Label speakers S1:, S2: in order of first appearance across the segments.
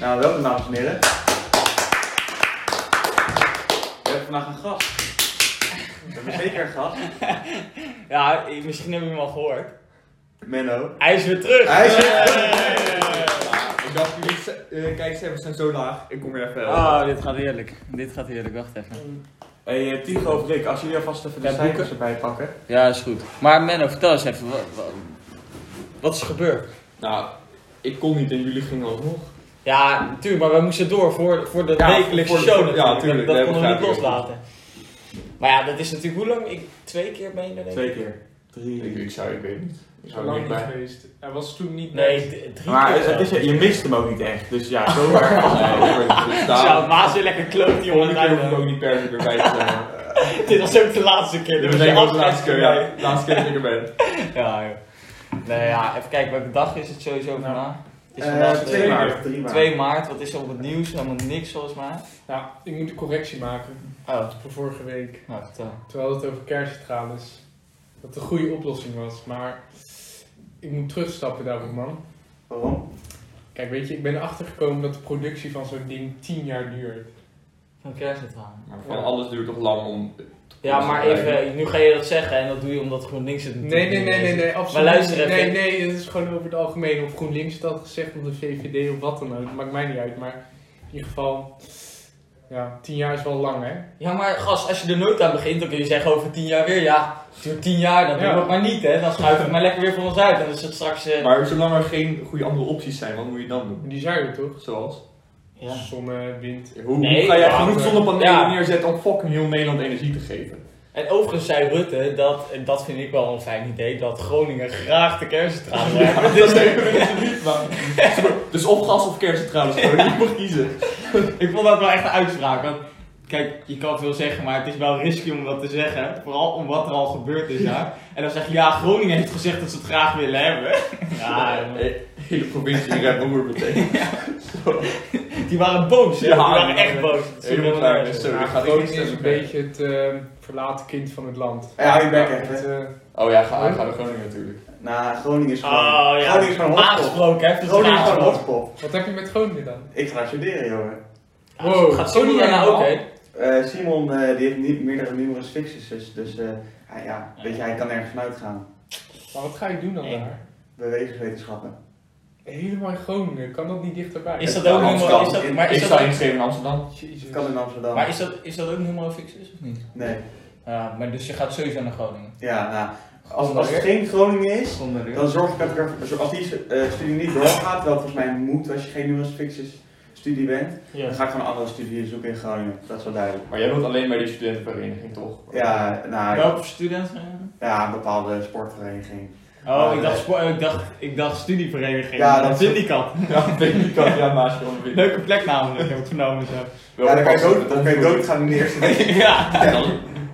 S1: nou welkom dames en heren. We hebben vandaag een gast. We hebben zeker een gast.
S2: Ja, misschien hebben jullie hem al gehoord.
S1: Menno.
S2: Hij is weer terug!
S1: Hij is weer
S2: Hey!
S1: terug! Ik dacht, jullie eh, kijkcijfers zijn zo laag, ik kom weer even helpen.
S2: Oh, dit gaat heerlijk. Dit gaat heerlijk, wacht even.
S1: Hey, eh, Tigo of Dick, als jullie alvast even de
S2: Ja,
S1: cijfers
S2: boeken.
S1: erbij pakken.
S2: Ja, is goed. Maar Menno, vertel eens even, wat, wat is er gebeurd?
S3: Nou, ik kon niet en jullie gingen alsnog.
S2: Ja, natuurlijk, maar we moesten door voor, voor de
S3: Ja,
S2: wekelijkse
S3: voor de-
S2: show
S3: voor-
S2: natuurlijk.
S3: ja, tuurlijk,
S2: dat
S3: nee,
S2: dat konden we niet
S3: begrijp ik.
S2: loslaten. Maar ja, dat is natuurlijk, hoe lang? Ik, twee keer ben je er denk ik?
S1: Twee keer. Drie.
S3: Ik, ik zou, ik weet niet. Ik
S4: Zo
S3: zou er
S4: lang
S3: niet
S4: niet
S3: bij.
S4: geweest. Hij was toen niet
S2: Nee,
S4: net.
S2: d- drie
S1: Maar
S2: keer
S1: het is,
S2: zelfs.
S1: je mist hem ook niet echt, dus ja, zo erg was hij.
S3: Nee, ik word
S2: Ja,
S3: staan.
S2: Maas weer lekker kloot,
S3: Volgende keer hoef ik ook
S2: jongen.
S3: niet per se weer bij te zijn.
S2: Dit was ook de laatste keer.
S3: Dit
S2: Dit
S3: was
S2: was je
S3: denk ik ook de laatste keer,
S2: afscheidskeer.
S3: ja. De laatste keer dat ik er ben.
S2: Ja, joh. Nee, ja, even kijken, welke dag is het
S3: Nou,
S2: sowieso vandaag? Het is vandaag de-
S1: 2 maart. 3 maart.
S2: 2 maart, wat is er op het nieuws? Helemaal niks volgens mij.
S4: Ja, Nou, ik moet een correctie maken
S2: Oh,
S4: van vorige week.
S2: nou vertel.
S4: Terwijl het over kerncentrales. Dat de goede oplossing was, maar ik moet terugstappen daarop, man.
S1: Waarom?
S4: Kijk, weet je, ik ben achtergekomen dat de productie van zo'n ding 10 jaar duurt.
S2: Een kerncentrale.
S3: Maar van alles duurt toch lang om... te
S2: Ja, maar
S3: concentreren.
S2: even, nu ga je dat zeggen en dat doe je omdat GroenLinks het
S4: Nee, nee, nee, nee, nee, absoluut.
S2: Maar luister
S4: niet.
S2: even.
S4: Nee, nee, het is gewoon over het algemeen. Of GroenLinks had gezegd, of de VVD of wat dan ook. Maakt mij niet uit, maar in ieder geval. Ja, 10 jaar is wel lang, hè?
S2: Ja, maar gast, als je er nooit aan begint, dan kun je zeggen over 10 jaar weer, ja, het duurt 10 jaar, dan doen
S4: Ja.
S2: we het maar niet, hè. Dan schuiven we het maar lekker weer voor ons uit en dan is het straks... eh,
S3: Maar zolang er geen goede andere opties zijn, wat moet je dan doen?
S4: Die zijn er toch?
S3: Zoals?
S2: ja.
S4: Zonne, wind,
S3: Hoe, hoe
S2: Nee,
S3: ga jij
S2: water.
S3: genoeg zonnepanelen
S2: Ja.
S3: neerzetten om fucking heel Nederland energie te geven?
S2: En overigens zei Rutte, dat, en dat vind ik wel een fijn idee, dat Groningen graag de kerncentrale wil hebben.
S3: dat is even niet, maar... Dus of gas of kerncentrales, gewoon niet mag kiezen.
S2: Ik vond dat wel echt een uitspraak. Want kijk, je kan het wel zeggen, maar het is wel risky om dat te zeggen. Vooral om wat er al gebeurd is daar. En dan zeg je, ja, Groningen heeft gezegd dat ze het graag willen hebben. Ja, jongen.
S3: Eh, hele provincie in Red Roer meteen.
S2: die waren boos, hè?
S3: Ja,
S2: die waren
S3: ja,
S2: echt
S3: ja.
S2: boos. Dat is
S3: Heel
S2: helemaal
S3: klaar,
S2: nergens.
S3: dus, eh,
S4: Ja,
S3: daar gaat
S4: Groningen
S3: ik niet
S4: is een
S3: stemmen.
S4: beetje het eh, verlaten kind van het land.
S1: Ja, ik ben echt,
S4: Het,
S1: hè.
S4: eh,
S3: Oh ja, ga, ga naar Groningen natuurlijk.
S1: Nou, Groningen is gewoon.
S2: Oh ja,
S1: Groningen is gewoon een hotspot.
S2: aangesproken, hè?
S1: Groningen is gewoon een
S2: Vertraagd.
S1: hotspot.
S4: wat heb je met Groningen dan?
S1: Ik ga studeren, jongen.
S4: Wow.
S2: Gaat Sony daarna ook heen?
S1: Eh, Simon eh, die heeft niet meerdere numerus fixes, dus, dus eh, hij, ja, weet je, hij kan ergens vanuit gaan.
S4: Maar wat ga je doen dan
S2: Nee.
S4: daar?
S1: Bewegingswetenschappen.
S4: Helemaal in Groningen, kan dat niet dichterbij?
S2: Is dat ook
S3: Ja,
S2: helemaal... Is dat, maar,
S3: ik
S2: is
S3: sta
S2: dat,
S3: ingeschreven in Amsterdam.
S4: Jezus.
S1: Dat kan in Amsterdam.
S2: maar is dat, is dat ook helemaal fix is of niet?
S1: Nee.
S2: Ja, maar dus je gaat sowieso naar Groningen.
S1: Ja, nou, als, als het geen Groningen is,
S2: Groningen.
S1: dan zorg ik dat ik er, zo- als die eh, studie niet doorgaat, wel volgens mij moet als je geen numerus fixes studie bent,
S2: Ja.
S1: dan ga ik gewoon een andere studie zoeken in Groningen. Dat is wel duidelijk.
S3: Maar jij wilt alleen bij die studentenvereniging, toch?
S1: Ja, nou,
S2: Welke student zijn er?
S1: ja, een bepaalde sportvereniging.
S2: Oh,
S1: Maar,
S2: ik, dacht, spo- ik, dacht, ik dacht studievereniging.
S1: Ja,
S2: Ja,
S1: dat-
S2: dat vind ik al.
S3: Ja, weet ik kan ja, naast je ondervind.
S2: Leuke plek namelijk, heb ik vernomen zo.
S1: Ja, dan kan je dood, dan kan je doodgaan in de eerste week.
S2: ja,
S3: Dan,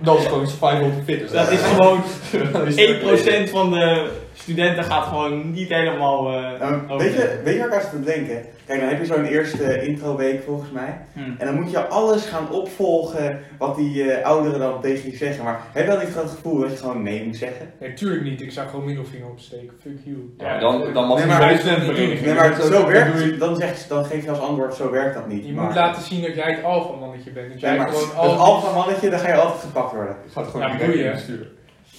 S3: dan is het gewoon survival of the fittest.
S2: dat is gewoon 1%
S3: Dat is
S2: van de studenten gaat gewoon niet helemaal... eh,
S4: Ehm,
S1: Nou,
S4: oh,
S2: over.
S1: weet, je, weet je waar ik aan zat te denken? Kijk, dan heb je zo'n eerste introweek volgens mij.
S2: Hm.
S1: En dan moet je alles gaan opvolgen wat die eh, ouderen dan tegen je zeggen. Maar heb je dan niet het gevoel dat je gewoon nee moet zeggen?
S4: Nee, tuurlijk niet. Ik zou gewoon middelvinger opsteken. Fuck you. Eh,
S3: Ja, dan, dan mag
S1: Nee,
S3: je
S1: maar-
S3: bij de studentenvereniging.
S1: Nee, maar
S3: Dat is
S1: zo
S3: ook-
S1: werkt
S3: doe je-
S1: het. Dan, zeg, dan geef je als antwoord, zo werkt dat niet.
S4: Je moet laten zien dat jij het alfamannetje bent. Dat jij
S1: Nee, maar
S4: gewoon
S1: als
S4: al...
S1: alfamannetje, dan ga je altijd gepakt worden.
S3: Je gaat gewoon
S4: Ja,
S3: direct
S4: boeien.
S3: insturen.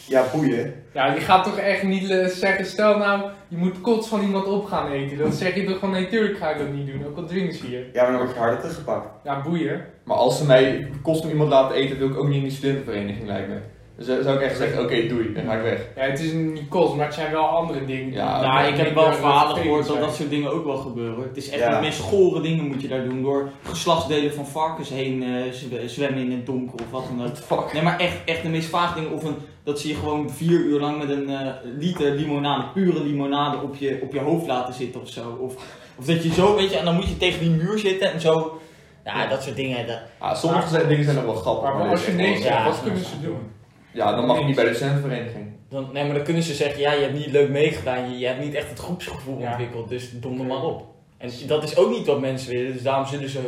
S1: Ja, boeien.
S4: Ja, je gaat toch echt niet eh, zeggen, stel nou, je moet kots van iemand op gaan eten. Dan zeg je toch gewoon, nee, tuurlijk ga ik dat niet doen. Ook al dwingen ze je.
S1: Ja, maar dan word je harder teruggepakt.
S4: Ja, boeien.
S3: Maar als ze mij kost om iemand laten eten, wil ik ook niet in die studentenvereniging lijken. Dus eh, zou ik echt zeggen, oké, doei, dan ga ik weg.
S4: Ja, het is niet kost, maar het zijn wel andere dingen.
S3: Ja,
S4: die-
S2: Nou, ik heb wel
S4: minder
S2: verhalen
S4: vervelend
S2: gehoord dat
S4: zijn.
S2: dat soort dingen ook wel gebeuren. hoor. Het is echt
S1: Ja.
S2: de meest gore dingen moet je daar doen. Door geslachtsdelen van varkens heen eh, zw- zwemmen in het donker of wat dan ook.
S3: Fuck.
S2: Nee, maar echt, echt de meest vaag dingen. Of een, dat ze je gewoon vier uur lang met een eh, liter limonade, pure limonade, op je, op je hoofd laten zitten of zo. Of, of dat je zo, weet je, en dan moet je tegen die muur zitten en zo. Ja,
S3: Ja.
S2: dat soort dingen. Dat,
S3: Ah, sommige zijn- dingen zijn nog wel grappig.
S4: Maar
S3: maar
S4: als
S3: dit
S4: je
S3: is
S4: nee
S3: echt-
S2: Ja.
S4: zegt, wat kunnen ze doen?
S3: Ja, dan mag je niet bij de studentenvereniging.
S2: dan, nee, maar dan kunnen ze zeggen, ja, je hebt niet leuk meegedaan. Je, je hebt niet echt het groepsgevoel
S4: Ja.
S2: ontwikkeld, dus donder maar op. En dat is ook niet wat mensen willen, dus daarom zullen ze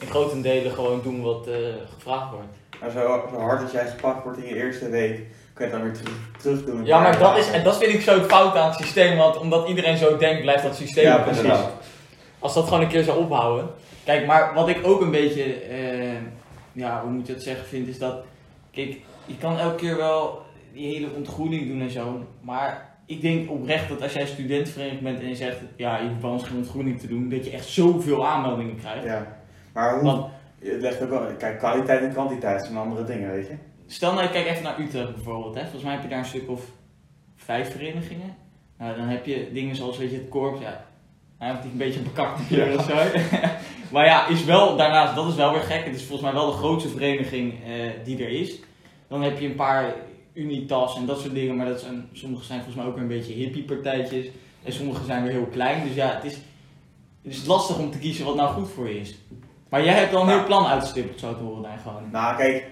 S2: in grote delen gewoon doen wat eh, gevraagd wordt.
S1: Maar zo, zo hard als jij gepakt wordt in je eerste week, kun je het dan weer terug, terug doen.
S2: Ja, maar dat, is, en dat vind ik zo fout aan het systeem, want omdat iedereen zo denkt, blijft dat systeem
S1: Ja,
S2: ook
S1: precies.
S2: bestaan. Als dat gewoon een keer zou ophouden.
S5: Kijk, maar wat ik ook een beetje, eh, ja, hoe moet je dat zeggen, vind is dat, kijk, je kan elke keer wel die hele ontgroening doen en zo, maar ik denk oprecht dat als jij studentenverenigd bent en je zegt, ja, je hoeft bij ons geen ontgroening te doen, dat je echt zoveel aanmeldingen krijgt.
S1: Ja. Maar hoe...
S5: Want-
S1: Je legt ook wel... Kijk, kwaliteit en kwantiteit zijn andere dingen, weet je?
S5: Stel nou, je kijkt even naar Utrecht bijvoorbeeld, hè. volgens mij heb je daar een stuk of vijf verenigingen. Nou, dan heb je dingen zoals, weet je, het korps, ja, eigenlijk een beetje een bekakte kleur of zo. maar ja, is wel, daarnaast, dat is wel weer gek, het is volgens mij wel de grootste vereniging eh, die er is. Dan heb je een paar unitas en dat soort dingen, maar dat zijn, sommige zijn volgens mij ook weer een beetje hippie partijtjes. En sommige zijn weer heel klein, dus ja, het is, het is lastig om te kiezen wat nou goed voor je is. Maar jij hebt al een heel plan uitgestippeld, zo te horen, daar gewoon.
S1: Nou, kijk,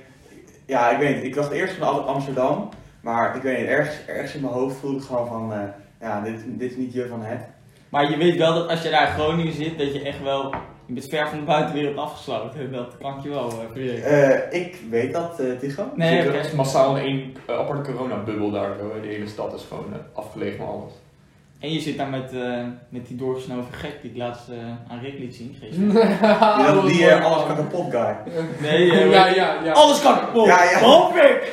S1: ja, ik weet niet. Ik dacht eerst van Am- Amsterdam, maar ik weet niet, ergens, ergens in mijn hoofd voelde ik gewoon van, eh, ja, dit, dit is niet je van het.
S5: Maar je weet wel dat als je daar in Groningen zit, dat je echt wel. Je bent ver van de buitenwereld afgesloten. Dat kan ik je wel eh, verzekeren.
S1: Eh, ik weet dat, eh Tycho.
S5: Nee,
S3: Zit
S5: oké.
S3: er echt massaal in één eh, aparte coronabubbel daar zo. hè. Die hele stad is gewoon eh, afgelegen van alles.
S5: En je zit daar met, eh, met die doorgesnoven gek die ik laatst eh, aan Rick liet zien gisteren.
S4: Mm.
S5: Ah,
S1: Die-
S4: Ja,
S1: die eh, alles kan kapot guy.
S5: Nee, eh,
S4: Ja, ja, ja.
S5: alles kan kapot!
S1: Ja, ja.
S5: Hoop ik!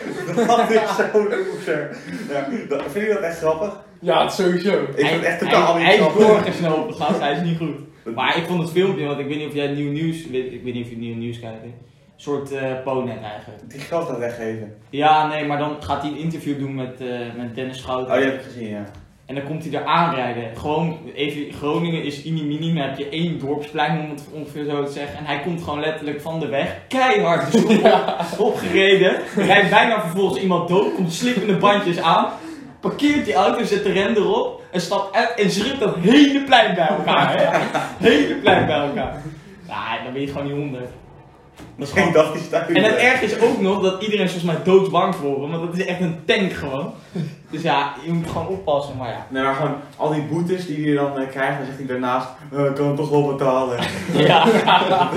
S1: Dat is zo'n loser. Ja, dat, vind je dat echt grappig?
S4: Ja, het sowieso.
S1: Ik vind het echt
S5: hij,
S1: totaal niet
S5: hij is
S1: grappig.
S5: doorgesnoven, gast. Hij is niet goed. Maar ik vond het filmpje, want ik weet niet of jij nieuw nieuws. weet- Ik weet niet of je nieuw nieuws kijkt. hè. Een soort eh ponet eigenlijk.
S1: Die gast dat weggeven.
S5: Ja, nee, maar dan gaat hij een interview doen met, eh, met Dennis Schouten.
S1: Oh, die heb ik gezien, ja.
S5: En dan komt hij er aanrijden. Gewoon, even, Groningen is ini minima, heb je één dorpsplein om het ongeveer zo te zeggen. En hij komt gewoon letterlijk van de weg, keihard de stoep op- opgereden. Rijdt bijna vervolgens iemand dood, komt slippende bandjes aan. Parkeert die auto, zet de rem erop en stapt uit en schrikt dat hele plein bij elkaar. Hè? Hele plein bij elkaar. Nou, dan ben je gewoon niet honderd. Dat is gewoon
S1: Ik dacht, die staat
S5: en het erg is ook nog dat iedereen volgens mij doodsbang voor hem, want dat is echt een tank gewoon. Dus ja, je moet gewoon oppassen, maar ja.
S1: Nee, maar gewoon al die boetes die je dan eh, krijgt, dan zegt hij daarnaast, eh, ik kan het toch wel betalen.
S5: Ja,
S4: Ja,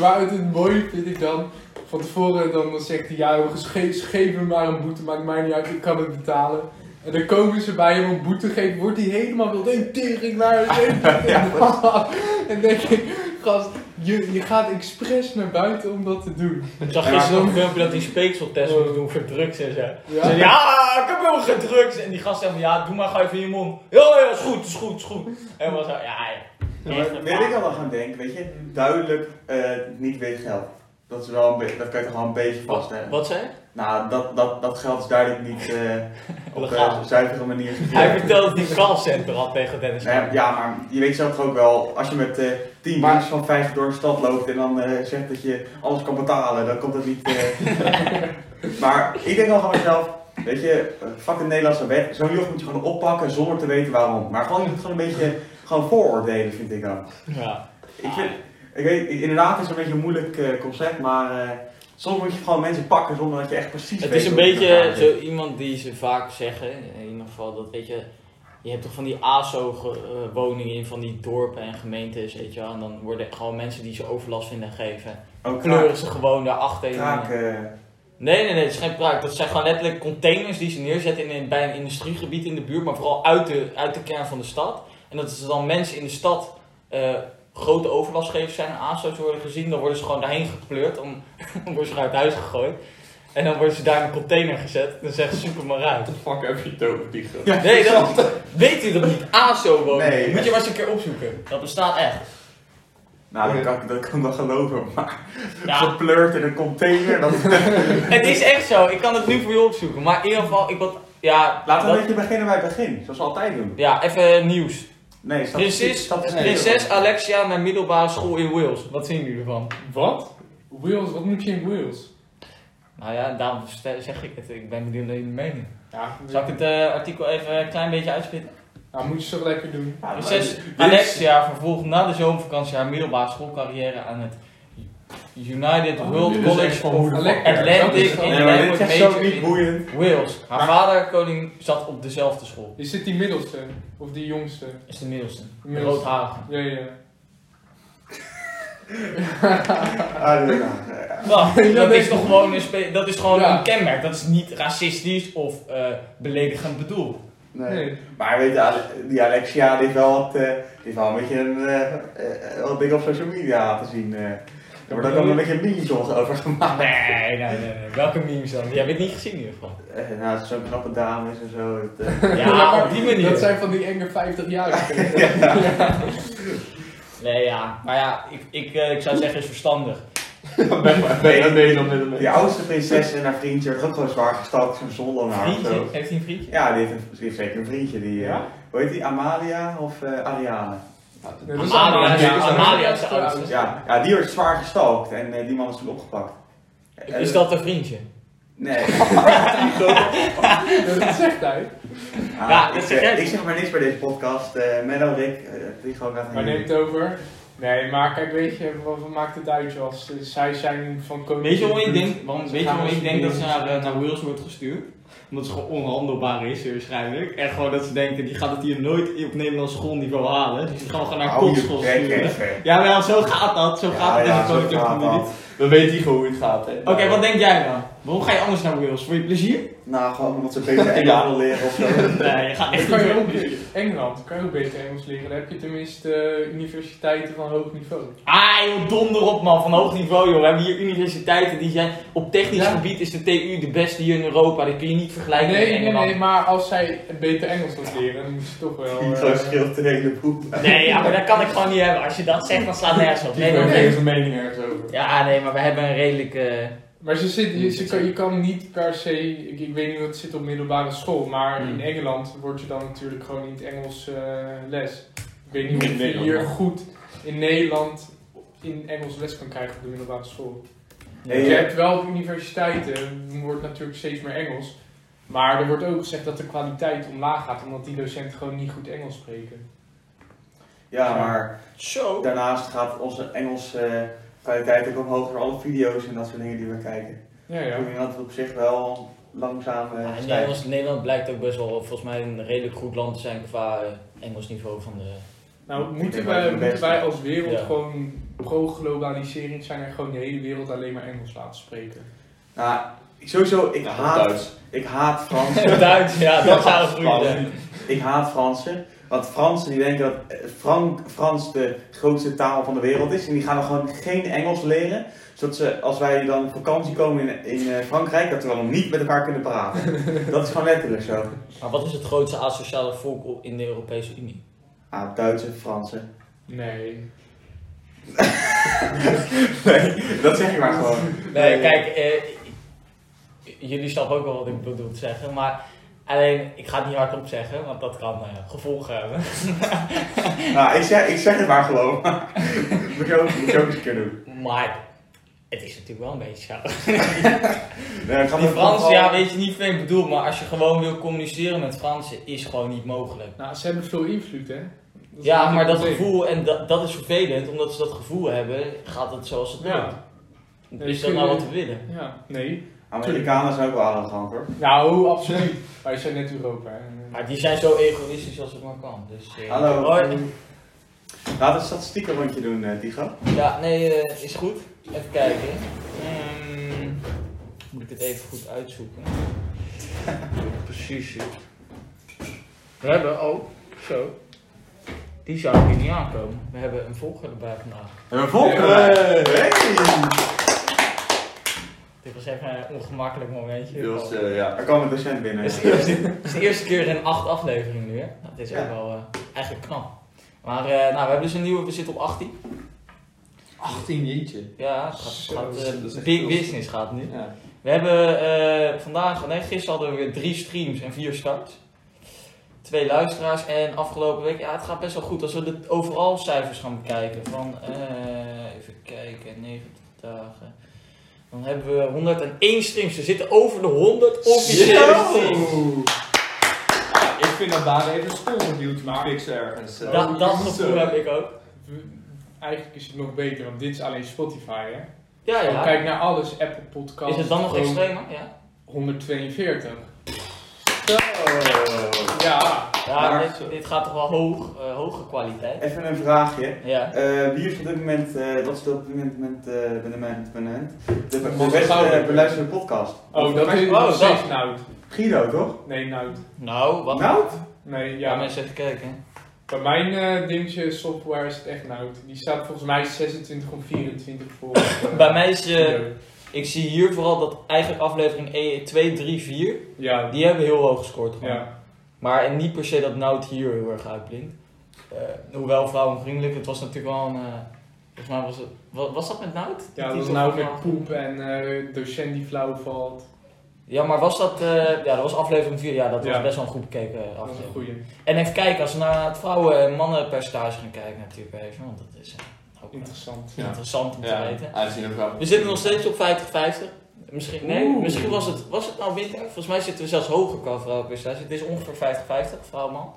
S4: Maar het, het mooie vind ik dan, van tevoren dan, dan zegt hij, ja jongens, geef, geef me maar een boete, maakt mij niet uit, ik kan het betalen. En dan komen ze bij hem een boete geven, wordt hij helemaal wild, hey tering naar En denk ik, gast, je, je gaat expres naar buiten om dat te doen.
S2: Ik zag
S1: Ja, maar-
S2: gisteren ook een filmpje dat hij een speekseltest moest doen voor drugs en zo.
S4: Ja,
S2: Zei, ja, ik heb helemaal geen drugs. En die gast zei van, ja, doe maar gewoon even in je mond. Ja, ja, is goed, is goed, is goed. En was zo, ja, ja.
S1: Ja,
S2: Echt,
S1: maar weet ik al wel gaan denken, weet je, duidelijk eh, niet weer geld. Dat is wel een beetje, dat kan je toch wel een beetje vaststellen.
S2: Wat zei hij?
S1: Nou, dat, dat, dat geld is duidelijk niet eh, op eh,
S2: Legaal.
S1: een zuivere manier
S2: Hij
S1: gegeven.
S2: vertelde dat hij een callcenter had tegen Dennis.
S1: Nee, ja, maar je weet zelf toch ook wel, als je met eh tien
S3: Maar-
S1: mensen van vijf door de stad loopt en dan eh, zegt dat je alles kan betalen, dan komt dat niet. eh. maar ik denk wel van mezelf, weet je, fuck de Nederlandse wet, zo'n joch moet je gewoon oppakken zonder te weten waarom. Maar gewoon, je moet gewoon een beetje gewoon vooroordelen, vind ik dan.
S2: Ja.
S1: Ik vind, ik weet, inderdaad is het een beetje een moeilijk eh, concept, maar eh, soms moet je gewoon mensen pakken zonder dat je echt precies
S2: Het
S1: weet
S2: is een
S1: hoe het
S2: beetje
S1: elkaar zit.
S2: zo iemand die ze vaak zeggen, in ieder geval, dat weet je, je hebt toch van die ASO-woningen in van die dorpen en gemeentes, weet je wel. En dan worden gewoon mensen die ze overlast vinden geven,
S1: Ook
S2: kleuren ze gewoon daarachter. in-
S1: kraak, eh,
S2: Nee, nee, nee, het is geen praak. Dat zijn gewoon letterlijk containers die ze neerzetten in, een- bij een industriegebied in de buurt, maar vooral uit de, uit de kern van de stad. En dat ze dan mensen in de stad eh, grote overlastgevers zijn en aanstoot worden gezien, dan worden ze gewoon daarheen gepleurd, om, dan worden ze uit huis gegooid. En dan worden ze daar in een container gezet. Dan zeggen ze super maar uit.
S3: What the fuck heb je het over, die gast?
S2: Nee, dat, weet u dat niet? ASO wonen.
S1: Nee.
S2: Moet je maar eens een keer opzoeken. Dat bestaat echt.
S1: nou, dat kan, dat kan ik wel geloven, maar
S2: Ja,
S1: gepleurd in een container, dat
S2: het is echt zo. Ik kan het nu voor je opzoeken. Maar in ieder geval, ik wat. Ja,
S1: Laten we
S2: dat-
S1: een beetje beginnen bij het begin, zoals we altijd doen.
S2: Ja, even nieuws.
S1: Nee, statistiek-
S2: Prinses,
S1: statistiek.
S2: prinses Alexia naar middelbare school in Wales. Wat zien jullie ervan?
S4: Wat? Wheels, wat moet je in Wheels?
S2: Nou ja, daarom stel- zeg ik het. Ik ben benieuwd naar jullie mening.
S4: Ja,
S2: Zal ik het eh, artikel even een klein beetje uitspitten?
S4: nou, moet je toch lekker doen.
S1: Ja, maar-
S2: Prinses
S1: dit is-
S2: Alexia vervolgt na de zomervakantie haar middelbare schoolcarrière aan het United
S4: Oh,
S2: World
S3: dit is echt
S2: College
S3: van
S2: of
S3: hoe de
S4: Alec-
S3: fuck-
S2: Atlantic in
S1: Nee, maar dit
S2: Language
S1: is zo
S2: Major
S1: niet
S2: in
S1: boeiend.
S2: Wales. Haar
S1: Maar-
S2: vader, koning, zat op dezelfde school.
S4: Is dit die middelste? Of die jongste?
S2: Is de middelste. De
S4: Middelste.
S2: roodharige.
S4: Ja, ja.
S1: Ah, nee, nou, eh,
S2: Nou,
S4: Ja,
S2: dat,
S4: nee.
S2: is toch gewoon een spe- dat is gewoon
S4: Ja.
S2: een kenmerk. Dat is niet racistisch of eh, beledigend bedoeld.
S1: Nee. Maar weet je, Ale- die Alexia die heeft wel, wat, eh, die heeft wel een beetje een, eh, eh, wat dingen op social media te zien. eh. Er wordt ook wel een beetje memes over gemaakt.
S2: Nee, nee, nee, nee. Welke memes dan? Jij hebt het niet gezien in ieder geval.
S1: Eh, nou, het is zo'n knappe dames en zo. Het, eh,
S2: Ja, op die manier.
S4: Dat zijn van die enge 50-jarigen.
S2: Nee, ja. Maar ja, ik, ik, eh, ik zou zeggen, is verstandig.
S3: Ben je dat ben je dan met een
S1: die oudste prinses en haar vriendje werd ook gewoon zwaar gestalkt, zo'n zon aan haar of
S2: Vriendje?
S1: zo.
S2: Heeft hij een vriendje?
S1: Ja, die heeft, een, die heeft zeker een vriendje. Die, eh,
S2: Ja?
S1: Hoe heet die? Amalia of eh, Ariane?
S4: Nee, dat is
S2: Amalia,
S4: allemaal-
S2: ja, Amalia is de oudste.
S1: Ja, ja, die werd zwaar gestalkt en eh, die man is toen opgepakt. Eh,
S2: Is dat een vriendje?
S1: Nee.
S4: Ja, Dat zegt hij.
S1: Ah,
S2: Ja, dat
S1: ik,
S2: zeg
S1: eh,
S2: jij.
S1: ik zeg maar niks bij deze podcast. Eh Menno, Rick, eh, die gewoon gaat
S4: Maar neem het over. Nee, maar kijk, weet je, wat, wat maakt het uit, Jos? Eh, Zij zijn van koning.
S5: Weet je waarom ik denk, waarom,
S4: Ze
S5: weet je
S4: gaan
S5: waarom ik
S4: ons
S5: denk dat ze
S4: niet
S5: naar, eh, naar Wales wordt gestuurd? Omdat ze gewoon onhandelbaar is eh, waarschijnlijk. En gewoon dat ze denken, die gaat het hier nooit op Nederlands schoolniveau halen. Dus die gaan we gewoon
S1: Oh,
S5: naar kotschool sturen. Ja, wel, zo gaat dat. Zo gaat het in de koninklijke familie. Oké,
S3: We weten hier gewoon hoe het gaat, hè.
S5: wat denk jij dan? Waarom ga je anders naar Wales? Voor je plezier?
S1: Nou, gewoon omdat ze beter Engels willen leren of zo.
S5: Nee, je gaat
S4: Dan
S5: echt
S4: kan
S5: niet
S4: je
S5: meer
S4: ook Engeland, kan je ook beter Engels leren. Dan heb je tenminste eh, universiteiten van hoog niveau.
S2: Ah joh, donder op man, van hoog niveau joh. We hebben hier universiteiten die zijn... Op technisch
S4: Ja.
S2: gebied is de TU de beste hier in Europa. Dat kun je niet vergelijken
S4: nee,
S2: met
S4: nee,
S2: Engeland.
S4: nee, maar als zij beter Engels wilt leren, dan moet ze toch wel. eh,
S1: Die zo scheelt de hele boel.
S2: Nee, ja, maar dat kan ik gewoon niet hebben. Als je dat zegt, dan slaat nergens op.
S3: Die
S2: Nee,
S3: gewoon
S2: nee.
S3: tegen zijn mening ergens over.
S2: Ja, nee, maar we hebben een eh, redelijke...
S4: Maar ze zit, je, ze kan, je kan niet per se, ik, ik weet niet hoe het zit op middelbare school, maar
S2: Hmm.
S4: in Engeland word je dan natuurlijk gewoon niet Engels eh, les. Ik weet niet
S3: In
S4: of je
S3: Nederland,
S4: hier
S3: hè?
S4: goed in Nederland in Engels les kan krijgen op de middelbare school.
S1: Hey,
S4: Je
S1: eh,
S4: hebt wel op universiteiten, eh, wordt natuurlijk steeds meer Engels. Maar er wordt ook gezegd dat de kwaliteit omlaag gaat, omdat die docenten gewoon niet goed Engels spreken.
S1: ja, maar
S2: Zo.
S1: daarnaast gaat onze Engelse eh, kwaliteit ook omhoog door alle video's en dat soort dingen die we kijken.
S4: Ja,
S1: Ik
S4: ja.
S1: vind dat het op zich wel langzaam eh,
S2: Ja, en
S1: stijgt.
S2: Nederland, Nederland blijkt ook best wel volgens mij een redelijk goed land te zijn qua eh, Engels niveau van de...
S4: Nou,
S1: Ik
S4: moeten
S1: denk dat
S4: wij,
S1: het
S4: moeten
S1: beste
S4: wij
S1: is.
S4: als wereld
S2: Ja.
S4: gewoon pro-globalisering zijn en gewoon de hele wereld alleen maar Engels laten spreken?
S1: Nou, sowieso, ik haat,
S3: Duits.
S1: ik haat Fransen.
S2: Duits, ja, dat zou een
S3: Ja,
S2: goede zijn.
S1: Ik haat Fransen. Want Fransen die denken dat eh, Frank, Frans de grootste taal van de wereld is. En die gaan dan gewoon geen Engels leren. Zodat ze, als wij dan op vakantie komen in, in eh, Frankrijk, dat we dan niet met elkaar kunnen praten. dat is gewoon letterlijk zo.
S2: Maar wat is het grootste asociale volk op- in de Europese Unie?
S1: Ah, Duitsers, Fransen.
S4: Nee.
S1: Nee, dat zeg ik maar gewoon.
S2: Nee, kijk, eh, j- jullie snappen ook wel wat ik bedoel te zeggen, maar alleen ik ga het niet hardop zeggen, want dat kan eh, gevolgen hebben.
S1: Nou, ik zeg, ik zeg het maar gewoon. moet, je ook, moet je ook eens kunnen doen.
S2: Maar het is natuurlijk wel een beetje zo.
S1: Nee, ik ga
S2: Die
S1: maar- Oh,
S2: Fransen, ja, weet je niet veel ik bedoel, maar als je gewoon wil communiceren met Fransen, is gewoon niet mogelijk.
S4: Nou, ze hebben veel invloed, hè? Dat is
S2: Ja,
S4: een
S2: maar dat
S4: probleem.
S2: gevoel, en dat, dat is vervelend, omdat ze dat gevoel hebben, gaat het zoals het
S4: Ja.
S2: moet. Is dat nou wat te willen?
S4: ja. Nee.
S1: Amerikanen zijn ook wel arrogant hoor.
S4: Nou, absoluut. Wij zijn net Europa. hè.
S2: Maar die zijn zo egoïstisch als het maar kan. Dus, eh,
S1: Hallo.
S2: hoi.
S1: Laten we een statistieken rondje doen, eh, Tigo.
S2: Ja, nee, eh, is goed. Even kijken. Ehm, moet ik het even goed uitzoeken? Precies. joh. We hebben, oh, zo. Die zou ik hier niet aankomen. We hebben een volger erbij vandaag.
S1: En een volgende. Hey.
S2: Dit was even een ongemakkelijk momentje.
S3: Dit was, eh, ja.
S1: Er kwam een docent binnen.
S2: Het is de eerste, het is de eerste keer in acht afleveringen nu, hè? Dat is
S1: Ja.
S2: ook wel eh, eigenlijk knap. Maar eh, nou, we hebben dus een nieuwe, we zitten op 18.
S3: 18 jeetje.
S2: Ja, het
S4: Zo,
S2: gaat, gaat, eh,
S3: dat is echt
S2: big
S3: veel.
S2: business gaat het nu.
S3: Ja.
S2: We hebben eh, vandaag, nee, gisteren hadden we weer drie streams en vier starts. Twee luisteraars en afgelopen week, ja, het gaat best wel goed. Als we de overal cijfers gaan bekijken, van eh, even kijken, 90 dagen. Dan hebben we 101 streams. We zitten over de 100 officiële
S3: Zo!
S2: streams.
S3: Ik vind dat daar even school moet maar fixen ergens. eh.
S2: Dat, dat
S3: Zo.
S2: gevoel heb ik ook.
S4: We- Eigenlijk is het nog beter, want dit is alleen Spotify, hè?
S2: Ja,
S4: Gewoon
S2: ja.
S4: Kijk naar alles, Apple Podcast.
S2: Is het dan nog
S4: gewoon
S2: extremer? Ja.
S4: 142.
S1: Zo. Oh.
S4: Ja.
S2: Ja,
S1: Maar-
S2: dit, dit gaat toch wel hoog, eh, hoge kwaliteit.
S1: Even een vraagje.
S2: Ja.
S1: Eh, wie is op dit moment, eh wat is op dit moment met, eh met de man, met de man? De, de
S4: Onze
S1: beste eh,
S4: gouden.
S1: beluisterde podcast?
S4: Oh, dat is
S2: Oh,
S4: nog steeds
S2: dat.
S4: Nout.
S1: Guido, toch?
S4: Nee, Nout.
S2: Nou, wat?
S1: Nou?
S4: Nee,
S2: Ja,
S4: ja.
S2: mensen even kijken.
S4: Bij mijn eh, dingetje software is het echt Nout. Die staat volgens mij 26 of 24 voor. eh,
S2: Bij mij is, eh,
S4: video.
S2: ik zie hier vooral dat eigenlijk aflevering e- 1, 2, 3, 4,
S4: Ja,
S2: die hebben heel hoog gescoord gewoon.
S4: ja.
S2: Maar en niet per se dat Nout hier heel erg uitblinkt. Eh, hoewel vrouwenvriendelijk, het was natuurlijk wel een... eh, volgens mij was het... wa- Was dat met Nout?
S4: Ja,
S2: Die
S4: dat is
S2: toch
S4: Nout
S2: wel-
S4: met poep en eh, docent die flauw valt.
S2: Ja, maar was dat... eh, ja, dat was aflevering 4. Ja, dat was
S4: Ja.
S2: best wel een goed bekeken eh,
S4: Dat is een
S2: aflevering.
S4: goeie.
S2: En even kijken, als we naar het vrouwen- en mannenpercentage gaan kijken natuurlijk even. Want dat is eh, ook eh,
S4: Interessant.
S3: Ja.
S2: interessant om te weten.
S3: Aangezien een vrouw.
S2: We zitten nog steeds op 50-50. Misschien, nee,
S4: Oeh.
S2: misschien was het, was het nou winter. Volgens mij zitten we zelfs hoger qua vrouwenpercentage. Het is ongeveer 50-50, vrouw-man.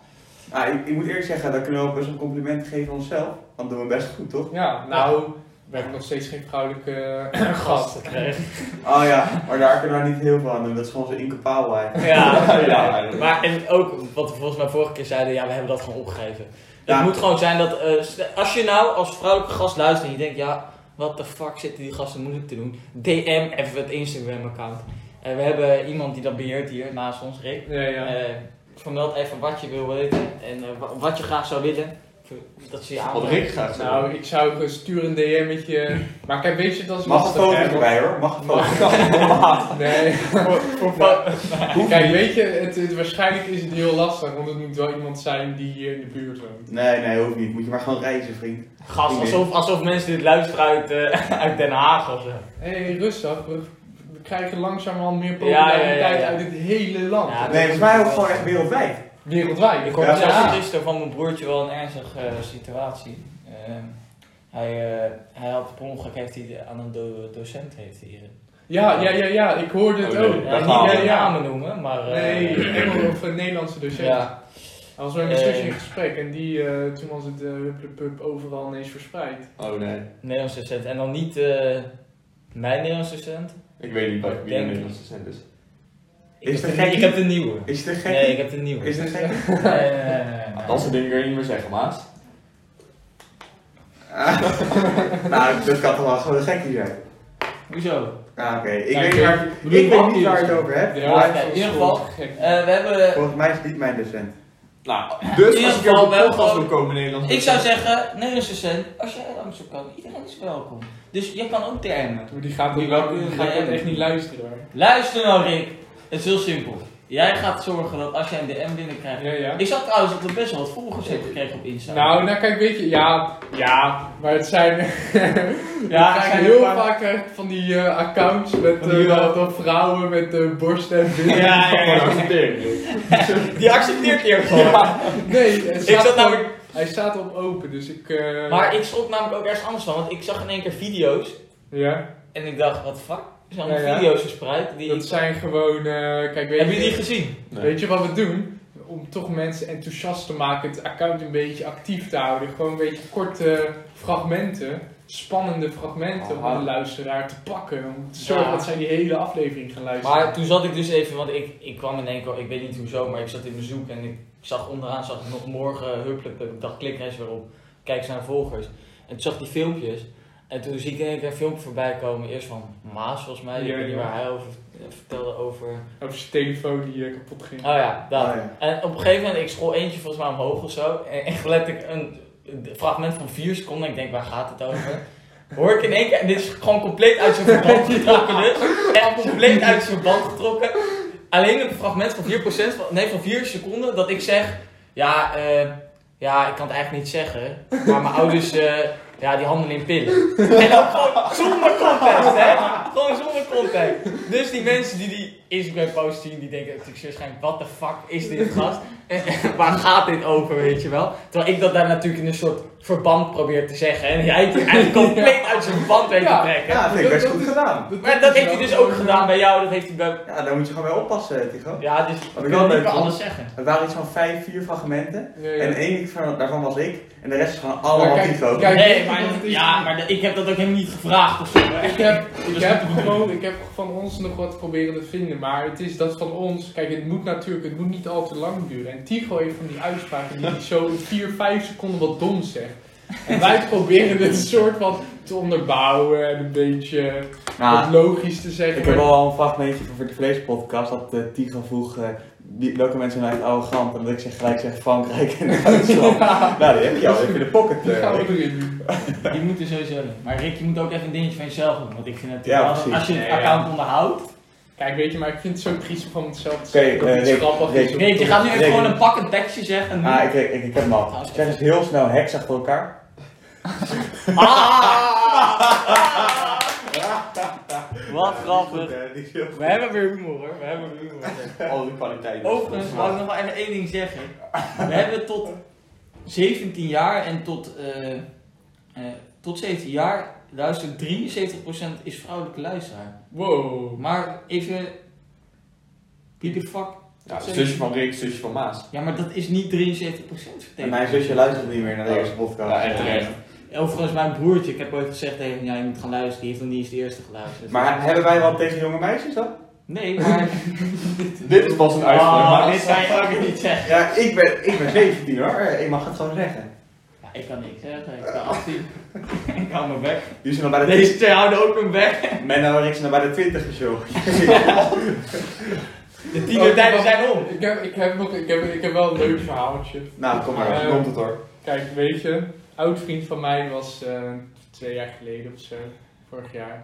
S1: Ah, ik, ik moet eerlijk zeggen, daar kunnen we ook best een compliment geven aan onszelf. Want doen we best goed, toch?
S4: Ja, nou, we hebben nog steeds geen vrouwelijke eh, gast.
S2: Gasten krijgen.
S1: Oh ja, maar daar kunnen we niet heel veel aan doen. Dat is gewoon onze incapabelheid.
S2: Ja,
S3: Ja, ja.
S2: maar en ook wat we volgens mij vorige keer zeiden, ja, we hebben dat gewoon opgegeven.
S1: Ja.
S2: Het moet gewoon zijn dat eh, s- als je nou als vrouwelijke gast luistert en je denkt, ja, wat de fuck zitten die gasten moeilijk te doen? DM even het Instagram-account. Eh, we hebben iemand die dat beheert hier naast ons, Rick.
S4: Ja, ja.
S2: Eh, vermeld even wat je wil weten en eh, wa- wat je graag zou willen. Dat ze je
S3: Wat
S2: aanbrengen.
S3: Rick gaat zeggen.
S4: Nou, ik zou gewoon sturen een DM'tje. Maar kijk, weet je, dat is
S1: Mag een foto
S4: hè, want-
S1: erbij hoor, mag een foto.
S4: Nee.
S2: Voor-
S4: Kijk, weet je, het, het- waarschijnlijk is het heel lastig, want het moet wel iemand zijn die hier in de buurt woont.
S1: Nee, nee, hoeft niet. Moet je maar gewoon reizen, vriend.
S2: Gast, alsof, alsof mensen dit luisteren uit, eh, uit Den Haag of zo.
S4: Hé, hey, rustig. We, we krijgen langzamerhand meer
S2: Ja,
S4: populariteit
S2: ja, ja, ja.
S4: uit het hele land.
S2: Ja,
S1: Nee, volgens mij ook gewoon echt wereldwijd.
S4: Wereldwijd.
S2: Ik hoorde
S1: Ja,
S2: zelfs
S4: ja.
S2: gisteren van mijn broertje wel een ernstige eh, situatie. Ehm, hij, eh, hij had per ongeluk heeft hij aan een do- docent heeft hij hier.
S4: Ja, ja, ja, ja, ik hoorde het
S3: Oh, nee.
S4: ook.
S2: Ja,
S3: Dat
S2: niet
S3: gaan we.
S2: de
S4: Ja, ja.
S2: namen noemen, maar. eh,
S4: Nee, Engels of een Nederlandse docent.
S2: Ja.
S4: Hij was met mijn zusje in
S2: Eh.
S4: gesprek en die, eh, toen was het eh hup, hup, hup, overal ineens verspreid.
S3: Oh nee.
S2: Nederlands docent. En dan niet eh, mijn Nederlands docent.
S3: Ik weet niet wat wie
S2: Denk ik.
S3: een Nederlandse cent is.
S2: Ik,
S1: Is
S2: heb,
S1: de
S2: de,
S1: gek-
S2: ik heb de nieuwe.
S1: Is het een gek?
S2: Nee, ik heb de nieuwe.
S1: Is het een gek?
S2: Nee, nee, nee, nee, nee.
S3: Dat soort dingen kun je niet meer zeggen, maat.
S1: nou, dat kan toch wel gewoon een gekkie zijn.
S2: Eh, Hoezo?
S1: Ah, oké. Ik
S4: Ja,
S1: weet
S4: oké.
S1: niet waar, ik
S4: bedoel,
S1: weet
S4: wat
S1: niet waar je het
S4: is-
S1: over hebt.
S4: Ja,
S1: maar
S2: oké, in ieder
S4: school.
S2: geval,
S4: Gek.
S2: Eh, we hebben.
S1: volgens mij is het niet mijn docent.
S3: Nou,
S2: In
S3: dus
S2: ieder
S3: als ik jou
S2: geval
S3: op de
S2: wel
S3: podcast wil
S2: gewoon-
S3: komen, Nederlandse
S2: Ik zou zeggen, Nederlands docent, als jij uit Amsterdam kan, iedereen is welkom. Dus jij kan ook DM'en.
S4: Maar Die gaat,
S2: Die
S4: die
S2: welke-
S4: gaat
S2: die-
S4: echt niet luisteren hoor.
S2: Luister nou, Rick. Het is heel simpel. Jij gaat zorgen dat als jij een DM binnenkrijgt.
S4: Ja, ja.
S2: Ik zag trouwens dat er best wel wat volgers heeft gekregen op Insta.
S4: Nou, nou kijk, weet je, ja, ja, maar het zijn.
S2: Ja,
S4: ja,
S2: het zijn
S4: heel
S2: een paar-
S4: vaak eh, van die eh, accounts met
S2: Van die,
S4: eh,
S2: eh,
S4: van vrouwen met eh, borsten en billen.
S2: Ja, ja, ja.
S3: accepteren.
S2: Die accepteert hier gewoon.
S4: Nee, het
S2: Ik
S4: staat
S2: zat
S4: gewoon-
S2: namelijk,
S4: hij staat op open, dus ik. eh,
S2: maar ik schrok namelijk ook ergens anders van, want ik zag in één keer video's
S4: Ja,
S2: en ik dacht, wat fuck? Er zijn allemaal
S4: Ja, ja.
S2: video's verspreid. Die
S4: dat zijn gewoon. eh, kijk, weet
S2: Hebben
S4: je,
S2: jullie die gezien?
S4: weet je wat we doen? Om toch mensen enthousiast te maken, het account een beetje actief te houden. Gewoon een beetje korte fragmenten, spannende fragmenten
S3: Aha.
S4: om de luisteraar te pakken. Om te zorgen
S2: Ja.
S4: dat zij die hele aflevering gaan luisteren.
S2: Maar toen zat ik dus even, want ik, ik kwam in één keer, ik weet niet hoezo, maar ik zat in bezoek en ik zag onderaan, zag ik nog morgen, huppelijk, ik dacht klik er eens weer op, kijk eens naar de volgers. En toen zag ik die filmpjes en toen zie ik in één keer een filmpje voorbij komen, eerst van Maas volgens mij, ik
S4: Ja,
S2: weet niet
S4: ja.
S2: waar hij over eh, vertelde over.
S4: Over zijn telefoon die eh, kapot ging.
S2: Oh ja, dat.
S1: Oh ja.
S2: En op een gegeven moment, ik scroll eentje volgens mij omhoog of zo, en, en let ik een, een fragment van 4 seconden en ik denk, waar gaat het over? Hoor ik in één keer, en dit is gewoon compleet uit zijn verband getrokken dus. Echt compleet uit zijn verband getrokken. Alleen een fragment van 4%, van, nee van 4 seconden, dat ik zeg, ja, eh, ja, ik kan het eigenlijk niet zeggen, maar mijn ouders, eh, ja, die handelen in pillen. En dan gewoon zonder context, hè. Gewoon zonder context. Dus die mensen die die Instagram post zien, die denken natuurlijk waarschijnlijk, wat de fuck is dit gast? En, waar gaat dit over, weet je wel? Terwijl ik dat daar natuurlijk in een soort verband probeer te zeggen. En hij het eigenlijk compleet uit zijn verband weet te
S4: Ja.
S2: trekken.
S1: Ja, dat vind ik best goed gedaan.
S2: Maar dat heeft hij dus ook gedaan bij jou, dat heeft hij bij...
S1: Ja, daar moet je gewoon wel oppassen, eh, Tigo.
S2: Ja, dus ik
S1: ik
S2: kan
S1: wel
S2: niet
S1: leuk
S2: meer
S1: vond.
S2: alles zeggen.
S1: Er waren iets van vijf, vier fragmenten.
S4: Ja, ja.
S1: En één van- daarvan was ik. En de rest is gewoon allemaal
S4: Maar kijk-
S1: Tigo.
S4: kijk,
S2: Nee,
S4: wat
S2: maar,
S4: het is.
S2: ja, maar de- ik heb dat ook helemaal niet gevraagd of zo. hè.
S4: Ik dus heb, ik, heb gewoon, ik heb van ons nog wat proberen te vinden, maar het is dat van ons. Kijk, het moet natuurlijk het moet niet al te lang duren. En Tigo heeft van die uitspraken die hij zo 4, 5 seconden wat dom zegt. En wij proberen het soort van te onderbouwen en een beetje wat
S1: Nou,
S4: logisch te zeggen.
S1: ik heb
S4: maar-
S1: al een fragmentje van de Vlees podcast dat eh Tigo vroeg eh, wie- welke mensen zijn eigenlijk arrogant en dat ik zeg gelijk zeg Frankrijk en Duitsland. Nou, die heb je al even in de pocket.
S4: Die
S1: eh,
S4: gaan we
S1: Rick.
S4: erin.
S2: Die moeten sowieso doen. Maar Rick, je moet ook even een dingetje van jezelf doen. Want ik vind het
S1: Ja,
S2: wel-
S1: precies.
S2: als je het
S4: Ja, ja.
S2: account onderhoudt.
S4: Kijk, weet je, maar ik vind het zo triest van hetzelfde te
S1: Oké,
S4: zeggen dat
S1: eh,
S4: iets
S1: Rick,
S4: grappig
S1: Rick.
S4: is. of-
S2: Nee, je gaat nu even
S1: Nee,
S2: gewoon
S1: nee.
S2: een pakkend tekstje zeggen.
S1: Ah, ik, ik, ik, ik heb hem al. Zeg eens heel snel heks achter elkaar.
S2: Ah!
S6: Wat grappig.
S2: We hebben weer humor hoor. We hebben weer humor.
S3: Al die kwaliteit.
S2: Overigens wou ik nog wel even één ding zeggen. We hebben tot 17 jaar en tot, eh, eh, tot 17 jaar luistert 73% is vrouwelijke luisteraar.
S4: Wow.
S2: Maar even. Wie de fuck?
S3: Ja, zusje van Rick, zusje van Maas.
S2: Ja, maar dat is niet 73%
S1: En
S2: vertegenwoordigd. Eh,
S1: mijn zusje luistert niet meer naar deze
S4: Oh.
S1: podcast.
S3: Ja, en terecht.
S2: Overigens, mijn broertje, ik heb ooit gezegd tegen hem, ja, je moet gaan luisteren, die heeft nog niet eens de eerste geluisterd.
S1: Maar hebben wij wat tegen jonge meisjes dan?
S2: Nee, maar...
S3: Dit is pas een uitspraak.
S2: Oh,
S3: Maas.
S2: dit kan je ook niet zeggen.
S1: Ja, ik ben, ik ben 17 hoor. Eh, Ik mag het gewoon zeggen.
S2: Ja, ik kan niks zeggen, ik ben 18. ik hou mijn bek.
S1: Jullie zijn al bij de
S2: Deze twee houden ook hun bek.
S1: 20. Menno en Rick zijn al bij de 20 joh.
S2: De tienertijden zijn om.
S4: Ik heb, ik, heb nog, ik, heb, ik heb wel een leuk verhaaltje.
S1: nou, kom maar.
S4: Eh,
S3: Komt het hoor.
S4: Kijk, weet je, een oud vriend van mij was eh, twee jaar geleden of zo, vorig jaar.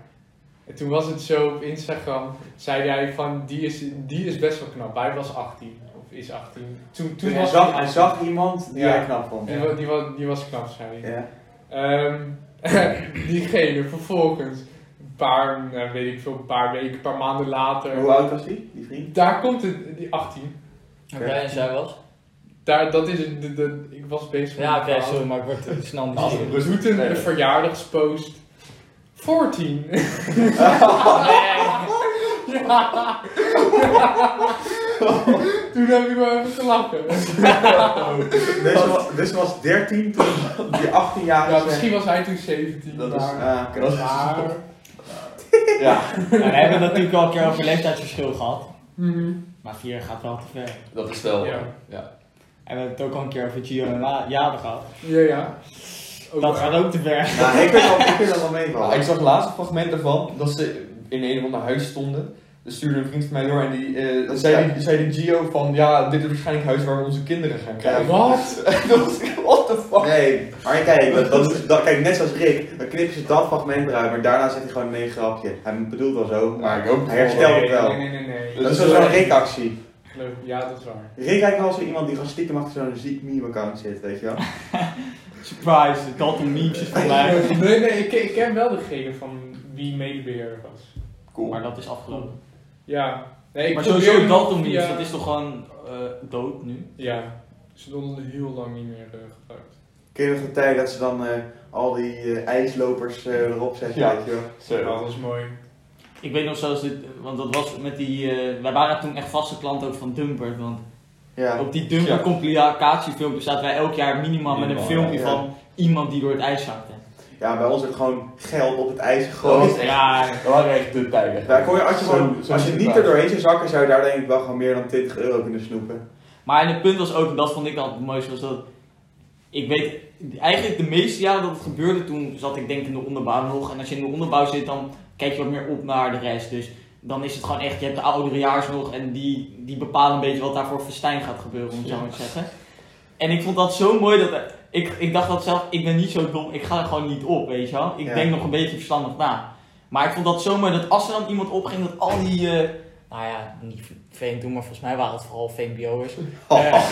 S4: En toen was het zo op Instagram, zei hij van, die is, die is best wel knap. Hij was 18, of is 18. Toen, toen
S1: Toen hij
S4: was
S1: zag,
S4: hij
S1: hij
S4: 18.
S1: zag iemand die
S4: Ja.
S1: hij knap vond.
S4: Die, wa- die, wa- die was knap, zei hij.
S1: Ja.
S4: Ehm, diegene vervolgens, een paar, nou, weet ik veel, een paar weken, een paar maanden
S1: En
S4: later.
S1: Hoe oud was die, die vriend?
S4: Daar komt het, die 18.
S1: Oké.
S6: Brian zei wat?
S4: Daar, dat is het, de- de- ik was bezig met
S6: Ja,
S4: het
S6: oké,
S4: verhaal.
S6: sorry, maar ik word eh, snel
S3: Als
S6: niet
S3: het
S4: We
S3: rust
S4: moeten een
S3: Nee.
S4: verjaardagspost. 14. ja. Toen heb ik wel even gelachen.
S1: Deze was, deze was 13 toen die eh, 18 jaar
S4: Ja, misschien was hij toen 17.
S3: Dat is-
S4: maar, maar,
S3: Ja,
S2: Nou, we hebben natuurlijk al een keer over leeftijdsverschil gehad,
S4: Mhm.
S2: maar vier gaat wel te ver.
S3: dat is wel.
S4: Ja.
S2: En we hebben het ook al een keer over Gio en La- Jade gehad.
S4: ja, ja. Ook
S2: Dat
S4: waar.
S2: gaat ook te ver.
S1: Nou, ik vind dat, ik vind dat wel
S3: Nou,
S1: meevallen.
S3: ik zag laatst een fragment daarvan dat ze in een of ander huis stonden. Dus stuurde een vriend van mij door en die, eh,
S1: Dat is
S3: zei,
S1: ja.
S3: die, zei die Gio van ja, dit is waarschijnlijk het huis waar we onze kinderen gaan krijgen.
S4: Wat?
S3: dat was, what the fuck?
S1: Nee, maar kijk, dat, dat, dat- kijk, net zoals Rick, dan knippen ze dat fragment eruit, maar daarna zegt hij gewoon nee, grapje. Hij bedoelt wel zo, maar
S3: ik ook
S1: hij herstelt het wel.
S4: Nee, nee, nee, nee.
S1: Dat is wel zo'n Rick-actie.
S4: Leuk. Ja, dat is waar.
S1: Rick lijkt wel zo iemand die gewoon stiekem achter zo'n ziek meme-account zit, weet je wel.
S2: Surprise, het had een memes van mij.
S4: Nee, nee, ik, ik ken wel degene van wie medebeheerder was.
S3: Cool.
S2: Maar dat is afgelopen.
S4: Ja. Nee, ik
S2: Maar
S4: probeer
S2: sowieso
S4: hem
S2: Dalton
S4: via-
S2: memes, dat is toch gewoon eh, dood nu?
S4: Ja. Ze hebben het heel lang niet meer eh, gebruikt.
S1: Ken je nog de tijd dat ze dan eh, al die eh, ijslopers eh, erop zetten,
S3: Ja.
S1: weet je wel.
S4: Ja,
S3: Zo.
S4: dat is mooi.
S2: Ik weet nog zelfs, dit, want dat was met die, eh, wij waren toen echt vaste klant ook van Dumpert, want
S1: Ja.
S2: op die Dumper
S3: Ja.
S2: complicatiefilmpje zaten wij elk jaar minimaal met een
S3: Minimaal,
S2: filmpje
S1: ja.
S2: van iemand die door het ijs zakte.
S1: ja, bij ons werd gewoon geld op het ijs
S3: Dat
S1: gegooid.
S3: was echt-
S2: Ja,
S3: Dat waren echt de tijden.
S1: Daar kon je, als je,
S3: Zo-
S1: gewoon,
S3: zo
S1: als je
S3: ziek
S1: niet
S3: waren.
S1: er doorheen zou zakken, zou je daar denk ik wel gewoon meer dan 20 euro kunnen snoepen.
S2: maar en het punt was ook, en dat vond ik altijd het mooiste, was dat ik weet, eigenlijk de meeste jaren dat het gebeurde, toen zat ik denk ik in de onderbouw nog. En als je in de onderbouw zit, dan kijk je wat meer op naar de rest. Dus dan is het gewoon echt, je hebt de ouderejaars nog en die, die bepalen een beetje wat daar voor festijn gaat gebeuren, om het zo maar te zeggen. En ik vond dat zo mooi dat ik, ik dacht dat zelf, ik ben niet zo dom, ik ga er gewoon niet op, weet je wel. Ik
S1: Ja.
S2: denk nog een beetje verstandig na. Maar ik vond dat zo mooi dat als er dan iemand opging, dat al die, eh, nou ja, niet veen toen, maar volgens mij waren het vooral VMBO'ers.
S3: Oh.
S2: Eh,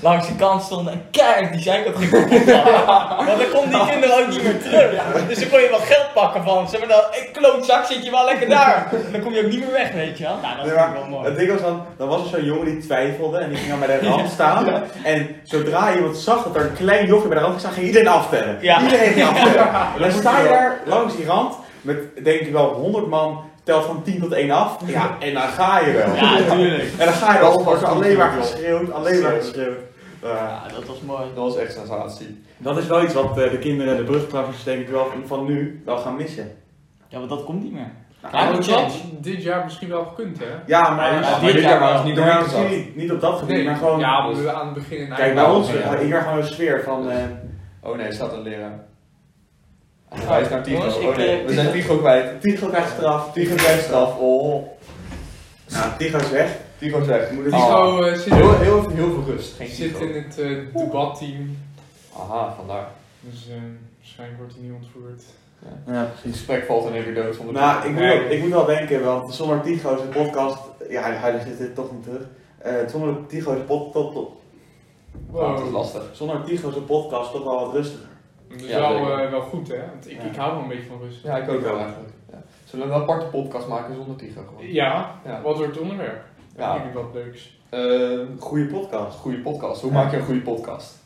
S2: langs de kant stonden en kijk, die zijn dat ging Want dan kon die kinderen ook niet meer terug. Dus dan kon je wel geld pakken van ze. Maar nou, dan, hey, klootzak, zit je wel lekker daar. Dan kom je ook niet meer weg, weet je wel. Nou, dat
S1: Nee,
S2: is
S1: maar
S2: wel mooi.
S1: Het ding was dan, dan was er zo'n jongen die twijfelde en die ging dan bij de rand staan. En zodra iemand zag dat er een klein jochie bij de rand staan, ging iedereen aftellen.
S2: Ja.
S1: Iedereen ging aftellen. En dan sta je daar langs die rand met denk ik wel 100 man, telt van 10 tot 1 af. Ja, en dan ga je wel.
S2: Ja, tuurlijk.
S1: En dan ga je wel,
S3: Dat was
S1: wordt er alleen maar
S3: natuurlijk
S1: geschreeuwd, alleen maar geschreeuwd. Eh,
S5: Ja, dat was mooi.
S3: Dat was echt sensatie.
S1: dat is wel iets wat eh, de kinderen, de brugtrappers denk ik wel van- van nu, wel gaan missen.
S5: Ja, want dat komt niet meer.
S1: Nou,
S2: Ja,
S4: Maar
S2: moet
S4: dat
S2: je-
S4: had dit jaar misschien wel gekund, hè?
S1: Ja, maar,
S2: Ja,
S1: maar
S2: dit
S1: dit
S2: jaar
S1: jaar
S2: was
S1: was
S3: niet
S1: niet
S3: door
S1: ja,
S3: ingezet.
S1: misschien niet op dat gebied, maar gewoon...
S4: ja, maar we aan het begin en
S1: Kijk,
S4: einde
S1: bij ons, eh,
S4: wel, ja.
S1: hier gaan we een sfeer van... eh,
S3: Oh nee, er staat een leraar. Ah, Hij is naar Tigo.
S2: jongens,
S3: Oh
S2: ik,
S3: nee,
S2: eh,
S3: we zijn Tigo kwijt.
S1: Tigo krijgt straf.
S3: Tigo krijgt straf. Oh,
S1: Nou, Tigo is weg.
S3: Tigo is weg.
S1: We moeten
S3: Oh.
S1: Tigo-
S4: Tigo eh, zit,
S3: Heel, heel, heel veel rust. Geen
S4: zit
S3: Tigo.
S4: in het eh, debatteam.
S3: Aha, vandaar.
S4: Dus eh, waarschijnlijk wordt hij niet ontvoerd.
S1: Ja,
S3: Het
S1: precies.
S3: gesprek valt in één keer dood zonder
S1: Nou, ik moet,
S4: Nee.
S1: wel- ik moet wel denken, want zonder Tigo's podcast... Ja, hij zit dit toch niet terug. Eh, zonder Tigo's pod, tot, tot-
S3: Ja, dat is lastig.
S1: zonder Tigo's podcast toch wel wat rustiger.
S4: Dat is
S3: Ja,
S4: wel,
S3: zeker.
S4: eh, wel goed, hè? Want ik,
S1: Ja.
S4: ik hou wel een beetje van rust.
S3: Ja, ik ook wel eigenlijk. Ja. Zullen we een aparte podcast maken zonder Tigo gewoon?
S4: Ja,
S3: Ja.
S4: wat wordt het onderwerp?
S3: Ja.
S4: Ja. Vind ik wat leuks.
S3: Eh,
S1: Goeie podcast.
S3: goede podcast. Hoe
S1: Ja.
S3: maak je een goede podcast?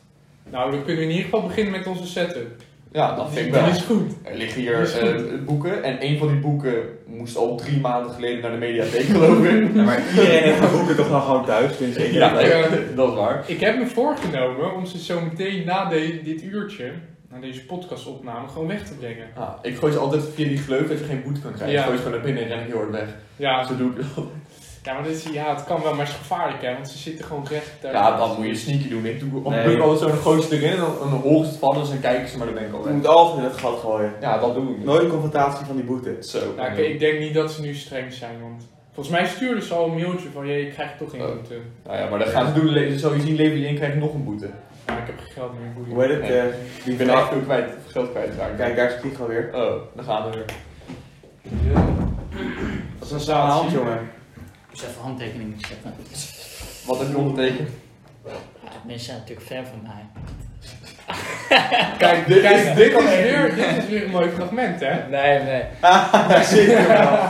S4: Nou, dan kunnen we in ieder geval beginnen met onze setup.
S3: Ja, dat vind ik
S4: Die
S3: wel.
S4: is goed.
S3: Er liggen hier eh, boeken en een van die boeken moest al drie maanden geleden naar de mediatheek geloof ik.
S1: Ja, maar iedereen heeft de boeken toch wel gewoon thuis, vind ik.
S3: Ja,
S4: Ja.
S3: dat is waar.
S4: Ik heb me voorgenomen om ze zo meteen na de- dit uurtje, na deze podcastopname, gewoon weg te brengen.
S3: Ah, ik gooi ze altijd via die gleuf dat je geen boete kan krijgen.
S4: Ja.
S3: Ik gooi ze gewoon naar binnen en ren ik heel hard weg.
S4: Ja,
S3: Zo doe ik dat.
S4: ja maar dit is, ja, het kan wel, maar het is gevaarlijk, hè? Want ze zitten gewoon recht daar.
S3: Ja, dan moet je sneaky doen. Ik doe op
S1: Nee.
S3: nee. altijd zo'n gootje erin en dan, dan horen ze het vallen en dan kijken ze maar dan ben ik al
S1: Je
S3: weg.
S1: moet altijd in het gat gooien.
S3: Ja, dat doe ik.
S1: Nooit een confrontatie van die boete.
S3: Zo.
S4: Nou, oké, ik denk niet dat ze nu streng zijn, want volgens mij stuurden ze al een mailtje van, jee, ik krijg toch geen
S3: Oh.
S4: boete.
S3: Nou ja, maar dan gaan ze doen. le- Sowieso niet leven je in, krijg je nog een boete.
S4: Maar ik heb geen geld meer, boeien.
S1: Hoe heet het?
S3: Nee.
S1: eh, die
S3: Ik ben echt veel kwijt, geld kwijtgeraakt.
S1: Kijk, daar is Tigo weer.
S3: Oh, dan gaan we weer.
S1: Dat is een staan hand, jongen.
S2: Ik moest even handtekeningen zetten.
S3: Wat heb je ondertekend?
S2: Ja, mensen zijn natuurlijk fan van mij.
S4: Kijk,
S3: dit
S4: kijk,
S3: is-
S4: dit,
S3: dit kan
S4: is
S3: echt
S4: weer, dit is weer een mooi fragment, hè?
S2: Nee, nee.
S1: Zeker wel.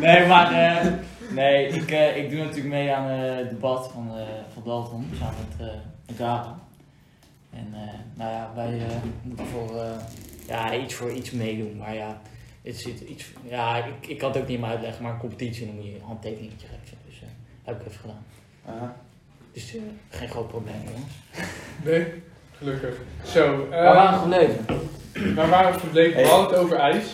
S2: Nee, maar eh, nee, ik, eh, ik doe natuurlijk mee aan eh, het debat van, eh, van Dalton samen met, eh met Dara. En eh, nou ja, wij eh, moeten voor eh, ja, iets voor iets meedoen. Maar ja, het zit iets, ja ik, ik kan het ook niet meer uitleggen, maar een competitie dan moet je een handtekeningetje geven. Dus eh heb ik even gedaan.
S1: Aha.
S2: Dus eh, geen groot probleem jongens.
S4: Nee, gelukkig. Zo, ehm, eh,
S2: Waar waren we gebleven?
S4: waar waren we verbleven?
S1: Hey.
S4: We hadden het over ijs.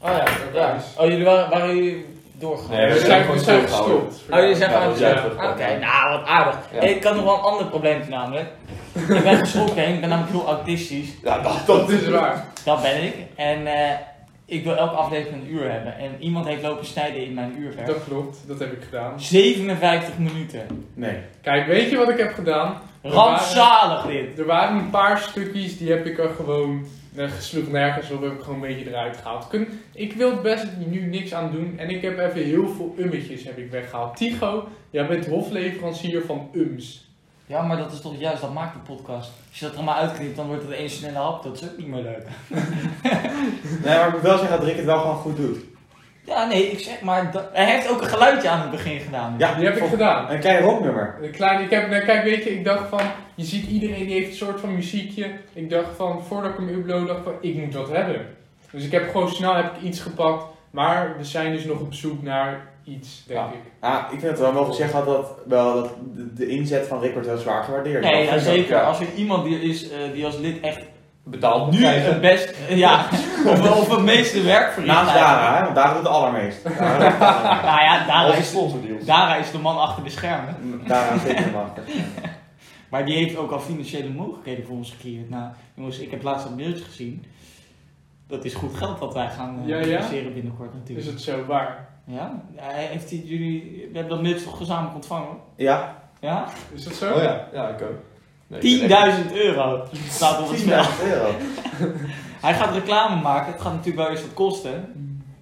S2: Oh ja, ja. Oh, jullie waren, waren jullie doorgegaan?
S3: Nee,
S4: we
S3: we
S4: zijn,
S3: zijn
S4: we
S3: gewoon
S4: zijn
S3: stilgehouden.
S4: gestopt.
S2: Oh, jullie zijn
S3: Ja,
S2: gewoon
S3: dat is jij
S4: Ja.
S2: Oké,
S3: teruggekomen.
S2: nou wat aardig.
S3: Ja.
S2: Ik had nog wel een ander probleem namelijk. Ik ben geschrokken, ik ben namelijk heel autistisch.
S3: Ja, dat,
S4: Dat is waar.
S2: Dat ben ik. En eh, ik wil elke aflevering een uur hebben. En iemand heeft lopen snijden in mijn uurwerk.
S4: Dat klopt, dat heb ik gedaan.
S2: 57 minuten.
S1: Nee.
S4: Kijk, weet je wat ik heb gedaan?
S2: Rampzalig dit.
S4: Er waren een paar stukjes, die heb ik er gewoon eh, gesloeg nergens op, heb ik gewoon een beetje eruit gehaald. Kun- ik wil best nu niks aan doen en ik heb even heel veel ummetjes heb ik weggehaald. Tigo, jij bent hofleverancier van ums.
S2: Ja, maar dat is toch juist, dat maakt de podcast. Als je dat er maar uitknipt, dan wordt het één snelle hap. Dat is ook niet meer leuk.
S1: Nee, maar ik moet wel zeggen dat Rick het wel gewoon goed doet.
S2: Ja, nee, ik zeg maar. dat- Hij heeft ook een geluidje aan het begin gedaan.
S1: Ja,
S4: Die heb ik
S1: voor-
S4: gedaan.
S1: Een klein rocknummer.
S4: Een klein, ik heb, nou, kijk, weet je, ik dacht van, je ziet iedereen die heeft een soort van muziekje. Ik dacht van, voordat ik hem upload, dacht van, ik moet dat hebben. Dus ik heb gewoon snel heb ik iets gepakt, maar we zijn dus nog op zoek naar iets, denk
S1: Ja.
S4: ik.
S1: Ah, ik vind het wel mogen zeggen dat, wel, dat de, de inzet van Rick wordt wel zwaar gewaardeerd.
S2: Nee,
S1: Dat
S2: ja,
S1: vind ik ook,
S2: zeker.
S1: ja.
S2: Als er iemand die is eh, die als lid echt
S3: betaald
S2: nu
S3: krijgen.
S2: het best, eh, ja, of, of het meeste werk verricht.
S1: Naast
S2: eigenlijk.
S1: Dara, hè, want Dara doet de allermeest. Dara doet de allermeest.
S2: Nou ja, Dara
S3: Als een
S2: is,
S3: sponsordeals.
S2: Dara is de man achter de schermen.
S1: Dara is zeker machtig.
S2: Maar die heeft ook al financiële mogelijkheden voor ons gecreëerd. Nou, jongens, ik heb laatst dat mailtje gezien. Dat is goed geld dat wij gaan eh,
S4: Ja, ja.
S2: investeren binnenkort natuurlijk.
S4: Is het zo waar?
S2: Ja, Hij heeft die, jullie, we hebben dat mailtje toch gezamenlijk ontvangen?
S1: Ja,
S2: Ja?
S4: Is dat zo?
S3: Oh ja, ja, ik ook. Nee, ik ben echt-
S2: 10.000 euro staat op het spel.
S1: 10.000 euro.
S2: Hij gaat reclame maken, het gaat natuurlijk wel eens wat kosten.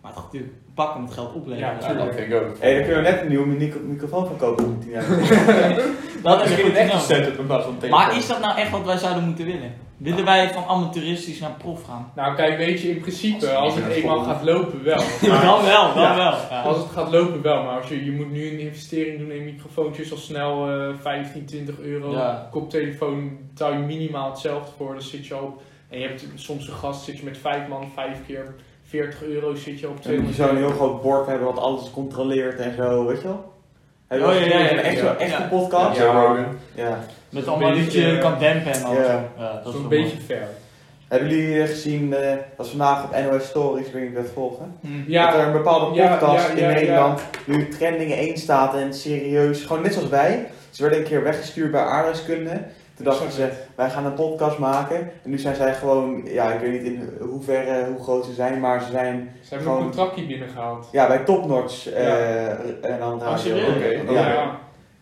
S2: Maar het gaat natuurlijk pakken het geld opleveren.
S4: Ja,
S3: Ja, dat vind ik ook.
S1: Hé, daar kunnen we net een nieuwe micro- microfoon van kopen voor 10.000 euro.
S2: dat is
S3: Misschien
S2: goed
S3: een echte
S2: te
S3: setup in plaats van een
S2: doen.
S3: telefoon.
S2: Maar is dat nou echt wat wij zouden moeten willen? Willen wij van amateuristisch naar prof gaan?
S4: Nou, kijk, weet je, in principe, als het eenmaal gaat lopen, wel.
S2: Dan wel, dan
S4: Ja.
S2: wel.
S4: Als het gaat lopen, wel. Maar als je, je moet nu een investering doen in microfoontjes, al snel eh 15, 20 euro.
S2: Ja.
S4: Koptelefoon betaal je minimaal hetzelfde voor, dan zit je op. En je hebt soms een gast, zit je met vijf man, vijf keer 40 euro, zit je op
S1: Dan moet je
S4: 200
S1: zo'n
S4: euro.
S1: heel groot bord hebben wat alles controleert en zo, weet je wel? Heb je
S5: Oh,
S1: wel
S5: ja,
S1: gezien?
S5: ja, ja,
S1: Een echte,
S5: ja.
S1: echte
S5: Ja.
S1: podcast.
S3: Joe Rogan.
S1: Ja.
S5: Met
S4: Zo'n
S5: allemaal dat
S4: beetje,
S5: je
S4: eh,
S5: kan dempen en al.
S1: ja.
S5: zo. Ja, dat is
S4: Zo'n
S5: wel
S4: beetje ver.
S1: Hebben jullie eh, gezien, eh, dat is vandaag op NOS Stories, ik weet niet of je dat volgen?
S5: mooi.
S3: Hmm.
S5: Hm.
S4: Ja,
S1: Dat er een bepaalde
S4: Ja,
S1: podcast
S4: ja, ja,
S1: in
S4: ja.
S1: Nederland nu trending 1 staat en serieus, gewoon net zoals wij. Ze werden een keer weggestuurd bij aardrijkskunde. Toen dachten ze, wij gaan een podcast maken. En nu zijn zij gewoon, ja, ik weet niet in hoeverre, hoe groot ze zijn, maar ze zijn
S4: ze hebben een
S1: Gewoon-
S4: contractje binnengehaald.
S1: ja, bij topnotch eh
S4: Ja.
S1: en aan het
S5: Oh,
S1: radio.
S5: serieus?
S1: Oké.
S3: Oké.
S1: Ja.
S4: Ja.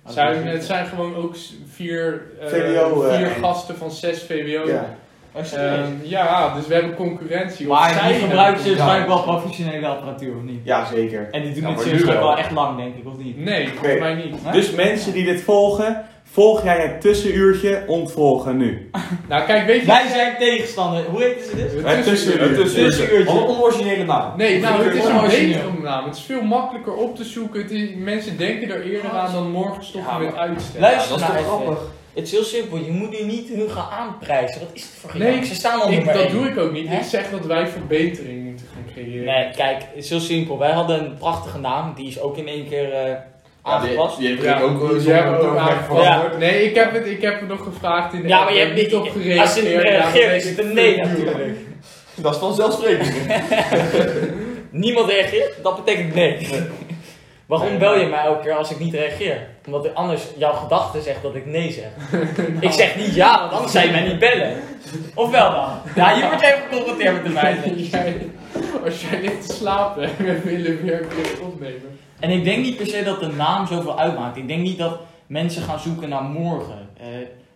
S5: Ah,
S4: Zijn-
S5: dat is-
S4: het zijn gewoon ook s- vier, eh,
S1: VWO, eh,
S4: vier
S1: en-
S4: gasten van zes VWO.
S1: Ja.
S5: Oh, serieus?
S4: Ehm, ja, dus we hebben concurrentie. Of
S5: Maar
S4: zij
S5: die gebruiken ze
S4: hebben
S5: waarschijnlijk wel
S4: concurrentie.
S5: professionele apparatuur, of niet?
S1: Ja, zeker.
S5: En die doen
S3: Ja,
S5: het
S3: maar
S5: serieus
S3: nu
S5: ook
S3: wel.
S5: wel echt lang, denk ik, of niet?
S4: Nee, volgens mij niet.
S5: Hè?
S1: Dus mensen die dit volgen, volg jij het tussenuurtje, ontvolgen nu.
S4: Nou, kijk,
S2: Dus
S4: weet je.
S5: Wij zijn tegenstander. Hoe heet ze dit?
S1: Het tussenuurtje.
S3: Het tussenuurtje.
S5: Tussenuurtje.
S3: Wat een onoriginele naam.
S4: Nee, nou, het is
S5: Origineel.
S4: een betere naam. Het is veel makkelijker op te zoeken. Het is- mensen denken er eerder aan dan morgen stoppen
S3: Ja,
S4: met uitstellen.
S3: Ja,
S2: Luister
S3: dat is
S2: naar
S3: toch
S2: even.
S3: grappig.
S2: Het is heel simpel, je moet nu niet hun gaan aanprijzen. Wat is het voor
S4: Nee,
S2: gejank? Ze staan al
S4: Ik,
S2: nummer
S4: dat
S2: één.
S4: doe ik ook niet.
S2: Hè?
S4: Ik zeg dat wij verbetering moeten gaan creëren.
S2: Nee, kijk, het is heel simpel. Wij hadden een prachtige naam, die is ook in één keer eh, aangepast.
S3: Die heeft
S4: Ja,
S3: Rick ook
S4: die
S3: zonder
S4: hebben ook
S3: toonbank
S4: aangepast.
S3: veranderd.
S4: Nee, ik heb, het, ik heb het nog gevraagd in de
S2: Ja,
S4: app,
S2: maar je
S4: er
S2: hebt niet
S4: op gereageerd.
S2: Als je niet reageert, is het een nee natuurlijk.
S3: Dat is vanzelfsprekend.
S2: Niemand reageert, dat betekent nee. Waarom
S3: Nee,
S2: bel je
S3: maar-
S2: mij elke keer als ik niet reageer? Omdat ik anders jouw gedachte zegt dat ik nee zeg. Ik zeg niet ja, want anders zou je mij niet bellen. Of wel dan? Ja, je wordt even geconfronteerd met de feiten.
S4: Als jij ligt te slapen en we willen weer een keer opnemen.
S2: En ik denk niet per se dat de naam zoveel uitmaakt. Ik denk niet dat mensen gaan zoeken naar morgen. Eh,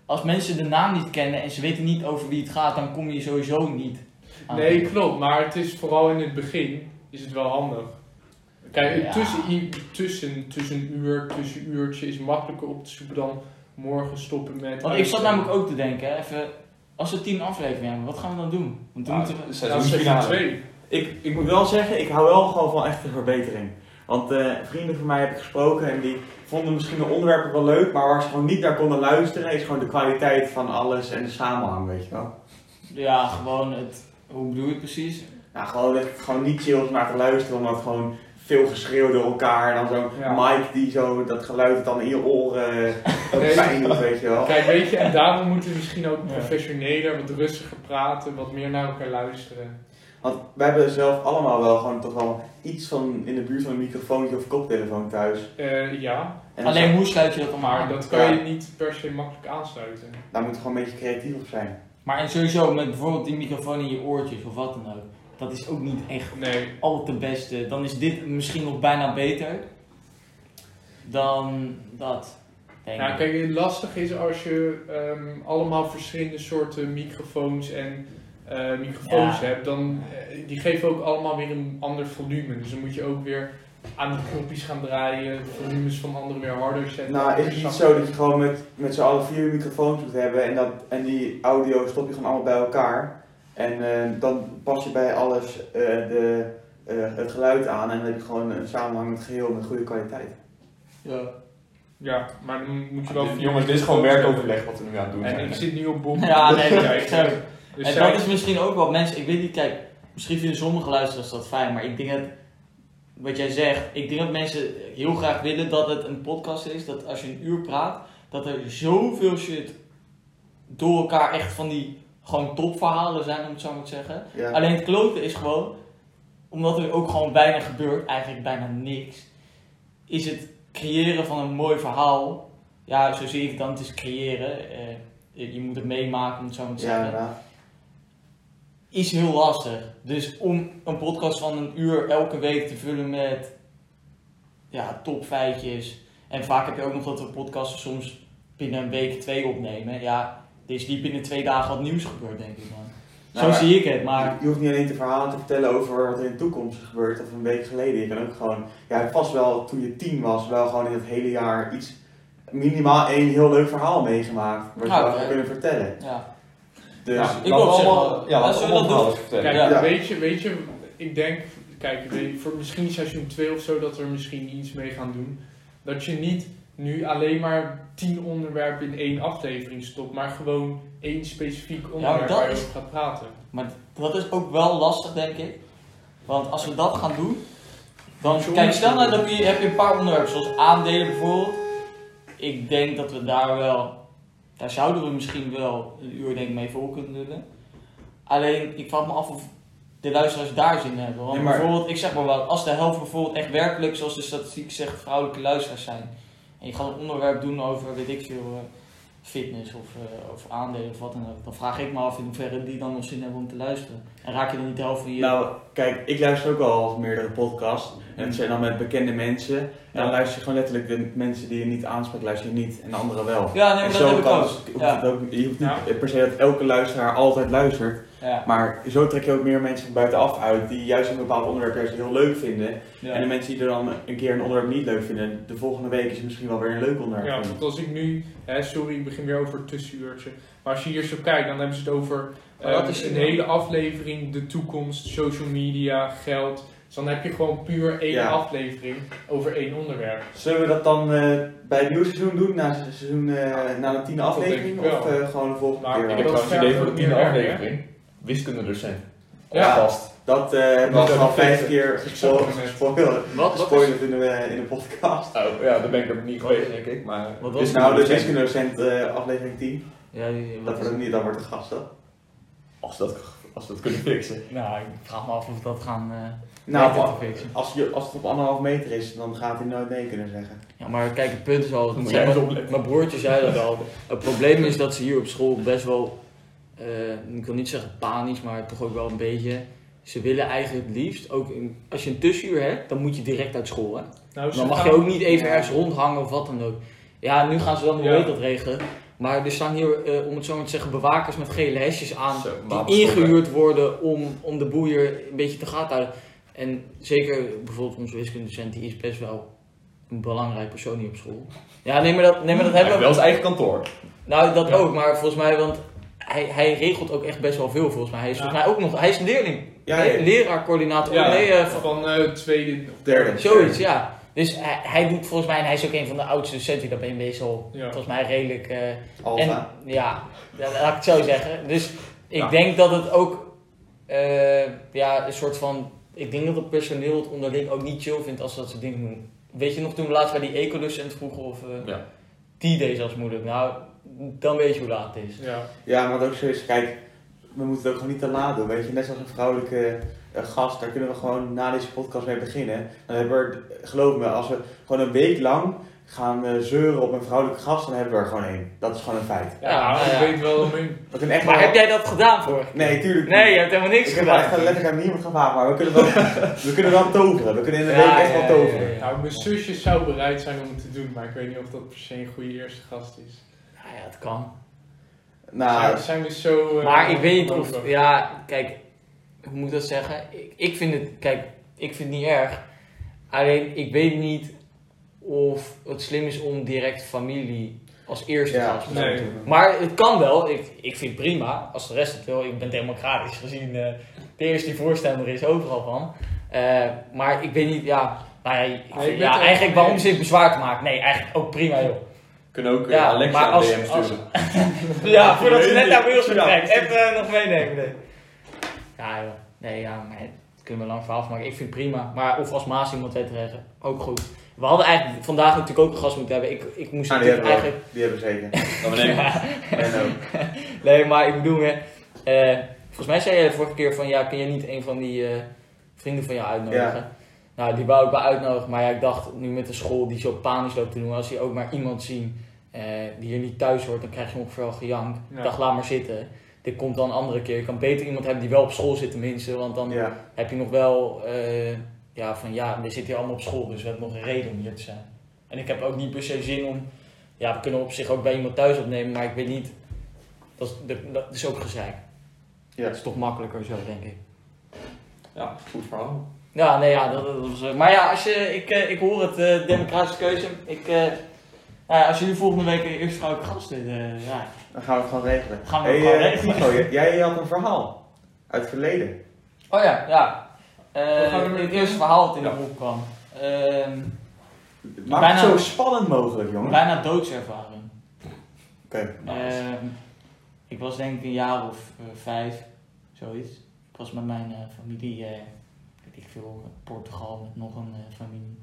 S2: als mensen de naam niet kennen en ze weten niet over wie het gaat, dan kom je sowieso niet. aan.
S4: Nee, klopt. Maar het is vooral in het begin is het wel handig. Kijk,
S2: Ja.
S4: tussen, i- tussen, tussen uur, tussen uurtje is makkelijker op te zoeken dan morgen stoppen met...
S2: Want ik zat namelijk ook te denken, hè, even, als we tien afleveringen hebben, wat gaan we dan doen? Want
S3: Ah.
S2: toen moeten we...
S4: Nou, seizoen
S3: Seizoensfinale.
S4: 2.
S1: Ik, ik moet wel zeggen, ik hou wel gewoon van echte verbetering. Want eh, vrienden van mij heb ik gesproken en die vonden misschien de onderwerpen wel leuk, maar waar ze gewoon niet naar konden luisteren, is gewoon de kwaliteit van alles en de samenhang, weet je wel.
S2: Ja, gewoon het... Hoe bedoel je het precies?
S1: Nou, gewoon dat het gewoon niet chill is om naar te luisteren, omdat gewoon veel geschreeuw door elkaar en dan zo'n
S4: Ja.
S1: mic die zo dat geluid dat dan in je oren
S4: Nee.
S1: eh, pijn doet, weet je wel.
S4: Kijk, weet je, en daarom moeten we misschien ook
S2: Ja.
S4: professioneler, wat rustiger praten, wat meer naar elkaar luisteren.
S1: Want wij hebben zelf allemaal wel gewoon toch wel iets van in de buurt van een microfoontje of koptelefoon thuis.
S4: Eh, ja,
S1: En dan
S2: Alleen hoe sluit je dat dan
S4: maar
S2: aan?
S4: dat kan
S1: Ja.
S4: je niet per se makkelijk aansluiten.
S1: daar moet je gewoon een beetje creatief op zijn.
S2: Maar en sowieso met bijvoorbeeld die microfoon in je oortjes of wat dan ook. Dat is ook niet echt
S4: Nee,
S2: al te beste. Dan is dit misschien nog bijna beter dan dat. Denk
S4: nou
S2: ik.
S4: kijk, het lastig is als je ehm, allemaal verschillende soorten microfoons en eh, microfoons
S2: Ja.
S4: hebt, dan eh, die geven ook allemaal weer een ander volume. Dus dan moet je ook weer aan de knopjes gaan draaien, de volumes van anderen weer harder zetten.
S1: Nou, is het niet zo dat je gewoon met, met z'n allen vier microfoons moet hebben en, dat, en die audio stop je gewoon allemaal bij elkaar. En eh, dan pas je bij alles eh, de, eh, het geluid aan en dan heb je gewoon een samenhangend geheel met goede kwaliteit.
S4: Ja, maar dan moet je wel...
S3: Dit-
S4: vier
S3: Jongens, dit is gewoon
S4: microfoons
S3: werkoverleg wat we nu aan het doen
S4: hebben. En
S3: zijn.
S4: ik zit nu op bom.
S2: Ja, nee, dat is zo.
S4: Dus
S2: en
S4: zij-
S2: dat is misschien ook wat mensen, ik weet niet, kijk, misschien vinden sommige luisteraars dat fijn, maar ik denk dat, wat jij zegt, ik denk dat mensen heel graag willen dat het een podcast is, dat als je een uur praat, dat er zoveel shit door elkaar echt van die gewoon topverhalen zijn, om het zo maar te zeggen.
S1: Ja.
S2: Alleen het kloten is gewoon, omdat er ook gewoon weinig gebeurt, eigenlijk bijna niks, is het creëren van een mooi verhaal, ja, zo zie ik het dan, het is creëren, eh, je je moet het meemaken, om het zo maar te
S1: Ja,
S2: zeggen
S1: inderdaad.
S2: is heel lastig. Dus om een podcast van een uur elke week te vullen met ja, topfeitjes. En vaak heb je ook nog dat we podcasten soms binnen een week twee opnemen. Ja, er is niet binnen twee dagen wat nieuws gebeurd, denk ik dan.
S1: Nou,
S2: Zo
S1: maar-
S2: zie ik het, maar...
S1: Je hoeft niet alleen te verhalen te vertellen over wat er in de toekomst is gebeurd of een week geleden. Je kan ook gewoon, ja, het was wel toen je tien was, wel gewoon in het hele jaar iets, minimaal één heel leuk verhaal meegemaakt. Wat je
S2: Nou,
S1: wel
S2: ja.
S1: kan kunnen vertellen.
S2: Ja.
S1: Dus,
S3: Ja,
S2: ik
S3: laten
S2: wil
S3: we
S2: zeggen,
S3: allemaal- Ja, laten we
S2: zullen we dat
S3: allemaal
S2: doen?
S3: alles vertellen.
S4: Kijk,
S1: Ja.
S4: weet, je, weet je, ik denk, kijk, weet- voor misschien seizoen 2 of zo, dat we er misschien iets mee gaan doen. Dat je niet nu alleen maar 10 onderwerpen in één aflevering stopt, maar gewoon één specifiek onderwerp
S2: dat
S4: waar je
S2: is-
S4: over gaat praten.
S2: Maar dat is ook wel lastig, denk ik. Want als we dat gaan doen, Dan, kijk, stel nou dat je, heb je een paar onderwerpen, zoals aandelen bijvoorbeeld. Ik denk dat we daar wel, daar zouden we misschien wel een uur denk ik mee vol kunnen lullen. Alleen, ik vraag me af of de luisteraars daar zin in hebben. Want
S1: Nee, maar-
S2: bijvoorbeeld, ik zeg maar wat, als de helft bijvoorbeeld echt werkelijk, zoals de statistiek zegt, vrouwelijke luisteraars zijn. En je gaat een onderwerp doen over, weet ik veel, eh, fitness of, eh, of aandelen of wat dan ook. Dan vraag ik me af in hoeverre die dan nog zin hebben om te luisteren. En raak je dan niet de helft van je...
S1: Nou, kijk, ik luister ook al meerdere podcasts. En het zijn dan met bekende mensen. En dan
S2: Ja.
S1: luister je gewoon letterlijk de mensen die je niet aanspreekt, luister je niet. En de anderen wel.
S2: ja, nee,
S1: en
S2: maar dat heb ik ook.
S1: het- hoeft
S2: Ja.
S1: het ook- je hoeft
S5: Ja.
S1: niet per se dat elke luisteraar altijd luistert.
S2: Ja.
S1: Maar zo trek je ook meer mensen van buitenaf uit die juist een bepaald onderwerp juist heel leuk vinden.
S5: Ja.
S1: En de mensen die er dan een keer een onderwerp niet leuk vinden, de volgende week is het misschien wel weer een leuk onderwerp.
S4: Ja,
S1: vinden.
S4: want als ik nu, hè, sorry, ik begin weer over het tussenuurtje. Maar als je hier zo kijkt, dan hebben ze het over
S2: Maar wat
S4: eh,
S2: is
S4: een
S2: die-
S4: hele aflevering, de toekomst, social media, geld. Dus dan heb je gewoon puur één
S1: Ja.
S4: aflevering over één onderwerp.
S1: Zullen we dat dan eh, bij het nieuwe seizoen doen, na, het seizoen, eh, na de tiende aflevering?
S4: denk ik
S1: Of
S4: wel.
S1: eh, gewoon de volgende
S4: Maar
S1: keer?
S4: ik
S3: Ik
S1: wel?
S3: heb
S4: Dat
S3: trouwens een
S4: vraagt
S3: idee voor de
S4: ook
S3: tiende
S4: meer werk,
S3: aflevering. dus Wiskundedocent.
S1: Ja.
S3: Alvast.
S1: Dat eh, hebben we
S3: Dat
S1: al
S3: is-
S1: vijf keer gespo-
S4: Gespoilerd.
S1: gespoilerd
S2: Wat, wat is-
S1: gespoilerd in, de, eh, in de podcast.
S3: Oh, ja, daar ben ik ook niet geweest, denk ik. Maar
S2: Wat was
S1: Dus
S2: het
S1: nou, de
S3: Wiskundedocent.
S1: wiskundedocent eh aflevering 10.
S2: Ja, ja,
S1: Dat
S2: wat
S1: we
S2: is
S1: dat niet, dan wordt de gasten.
S3: Als dat, als dat kunnen fixen.
S2: Nou, ik vraag me af of we dat gaan eh
S1: Nou,
S2: weten
S1: a-
S2: te fixen.
S1: als, je, als het op anderhalf meter is, dan gaat hij nooit nee kunnen zeggen.
S2: Ja, maar kijk, het punt is al,
S3: Dan moet
S2: zeg
S3: jij
S2: maar,
S3: eens opletten.
S2: mijn broertje zei dat al. Het probleem is dat ze hier op school best wel, eh, ik wil niet zeggen panisch, maar toch ook wel een beetje. Ze willen eigenlijk het liefst, ook in- als je een tussenuur hebt, dan moet je direct uit school. Hè?
S4: Nou, ze
S2: Dan mag
S4: gaan-
S2: je ook niet even
S4: Ja.
S2: ergens rondhangen of wat dan ook. Ja, nu gaan ze wel nog
S4: Ja.
S2: weet dat regelen. Maar er staan hier, eh, om het zo maar te zeggen, bewakers met gele hesjes aan.
S3: Zo,
S2: die
S3: wapenstok, hè.
S2: ingehuurd worden om, om de boel hier een beetje te gaten te houden. En zeker bijvoorbeeld onze wiskundedocent, die is best wel een belangrijk persoon hier op school. Ja, nee, maar dat, nee, maar dat
S3: Hij
S2: hebben
S3: heeft
S2: we.
S3: wel zijn eigen kantoor.
S2: Nou, dat
S4: Ja.
S2: ook, maar volgens mij, want hij, hij regelt ook echt best wel veel volgens mij. Hij is
S4: Ja.
S2: volgens mij ook nog, hij is een leerling.
S1: Ja,
S2: Nee,
S1: ja.
S2: leraar, coördinator.
S4: Ja,
S2: nee, eh, van-
S4: van eh, tweede.
S1: Derde.
S2: zoiets, ja. Dus hij, hij doet volgens mij, en hij is ook een van de oudste docenten die dat bij MBS al,
S4: Ja.
S2: volgens mij redelijk... eh,
S1: Alfa.
S2: en, ja, ja, laat ik het zo zeggen. Dus ik
S4: Ja.
S2: denk dat het ook eh, ja, een soort van. Ik denk dat het personeel het onderling ook niet chill vindt als ze dat soort dingen doen. Weet je nog toen we laatst bij die ecolucent vroegen of eh,
S3: Ja.
S2: die deze als moeilijk? Nou, dan weet je hoe laat het is.
S4: Ja.
S1: Ja, maar wat ook zo is, kijk, we moeten het ook gewoon niet te laat doen. Weet je, net zoals een vrouwelijke eh, gast, daar kunnen we gewoon na deze podcast mee beginnen. Dan hebben we, er- geloof me, als we gewoon een week lang gaan eh, zeuren op een vrouwelijke gast, dan hebben we er gewoon één. Dat is gewoon een feit.
S4: Ja, nou
S2: Ja, nou
S4: ik
S2: ja.
S4: weet wel dat mijn-
S1: We kunnen echt
S2: Maar
S1: wel-
S2: heb jij dat gedaan voor?
S1: Nee, tuurlijk niet.
S2: Nee, je hebt helemaal niks
S1: Ik heb wel echt
S2: gedaan.
S1: een letterlijk aan niemand gevraagd, maar we kunnen wel, we kunnen wel toveren. We kunnen in de week echt wel toveren.
S2: ja, ja.
S4: Nou, mijn zusje zou bereid zijn om het te doen, maar ik weet niet of dat per se een goede eerste gast is.
S2: Ja, ja, het kan.
S1: Nou,
S4: Zij- zijn dus zo. eh,
S2: Maar ik weet niet of.
S4: open.
S2: Ja, kijk, hoe moet ik dat zeggen? Ik, ik vind het, kijk, ik vind het niet erg. Alleen ik weet niet of het slim is om direct familie als eerste
S1: Ja,
S2: gast te
S4: nee.
S2: doen. Maar het kan wel, ik, ik vind het prima, als de rest het wil. Ik ben democratisch gezien eh, de eerste die voorstander is overal van. Eh, maar ik weet niet, ja, nou ja, ik
S4: bent
S2: vind-
S4: er
S2: ja
S4: ook
S2: eigenlijk
S4: mee
S2: waarom
S4: eens.
S2: zit bezwaar te maken? Nee, eigenlijk ook prima joh.
S3: Kunnen ook eh,
S2: Ja, maar
S3: Alexa een
S2: als-
S3: DM
S2: als-
S3: sturen.
S2: Ja, voordat ze net naar Wils
S1: Ja.
S2: vertrekt. Even eh, nog meenemen. Nee. Ja, joh. Nee, ja, maar het kunnen we een lang verhaal van maken. Ik vind het prima. Maar of als Maas iemand weet te regelen, ook goed. We hadden eigenlijk vandaag natuurlijk ook een gast moeten hebben. Ik, ik moest
S1: Ah, die
S2: natuurlijk
S1: hebben we.
S2: eigenlijk...
S1: Die hebben we zeker.
S3: Dan beneden.
S1: En ook.
S2: Nee, maar ik bedoel, hè. eh, volgens mij zei jij de vorige keer van... Ja, kun je niet een van die eh, vrienden van jou uitnodigen? Nou, die wou ik wel uitnodigen. Maar ja, ik dacht, nu met de school die zo panisch loopt te doen... Als je ook maar iemand zien eh, die hier niet thuis hoort... Dan krijg je ongeveer al gejank.
S4: Ja.
S2: Ik dacht, laat maar zitten. Dit komt dan een andere keer. Je kan beter iemand hebben die wel op school zit tenminste. Want dan
S1: Ja.
S2: heb je nog wel... eh, ja, van ja, we zitten hier allemaal op school. Dus we hebben nog een reden om hier te zijn. En ik heb ook niet per se zin om... Ja, we kunnen op zich ook bij iemand thuis opnemen. Maar ik weet niet... Dat is, dat- dat is ook gezeik.
S1: Ja.
S2: Dat is toch makkelijker zo, denk ik.
S3: Ja, goed verhaal.
S2: Ja, nee, ja, dat, dat was... eh, Maar ja, als je, ik, eh, ik hoor het, eh, democratische keuze. Ik, eh, nou ja, als jullie volgende week eh, eerst vrouwelijke gasten... eh ja.
S1: Dan gaan we het gewoon regelen.
S2: Gaan we het gewoon
S1: eh,
S2: regelen.
S1: Tico, jij, jij had een verhaal. Uit het verleden.
S2: Oh ja, ja.
S4: Wat gaan
S2: Eh
S4: we doen?
S2: het eerste verhaal dat in de
S1: Ja.
S2: groep kwam. Ehm,
S1: Maak
S2: Bijna-
S1: het zo spannend mogelijk, jongen.
S2: bijna doodservaring.
S1: Oké. nou,
S2: Ehm, ik was denk ik een jaar of eh, vijf, zoiets. Ik was met mijn eh, familie eh, weet ik veel, Portugal met nog een eh, familie.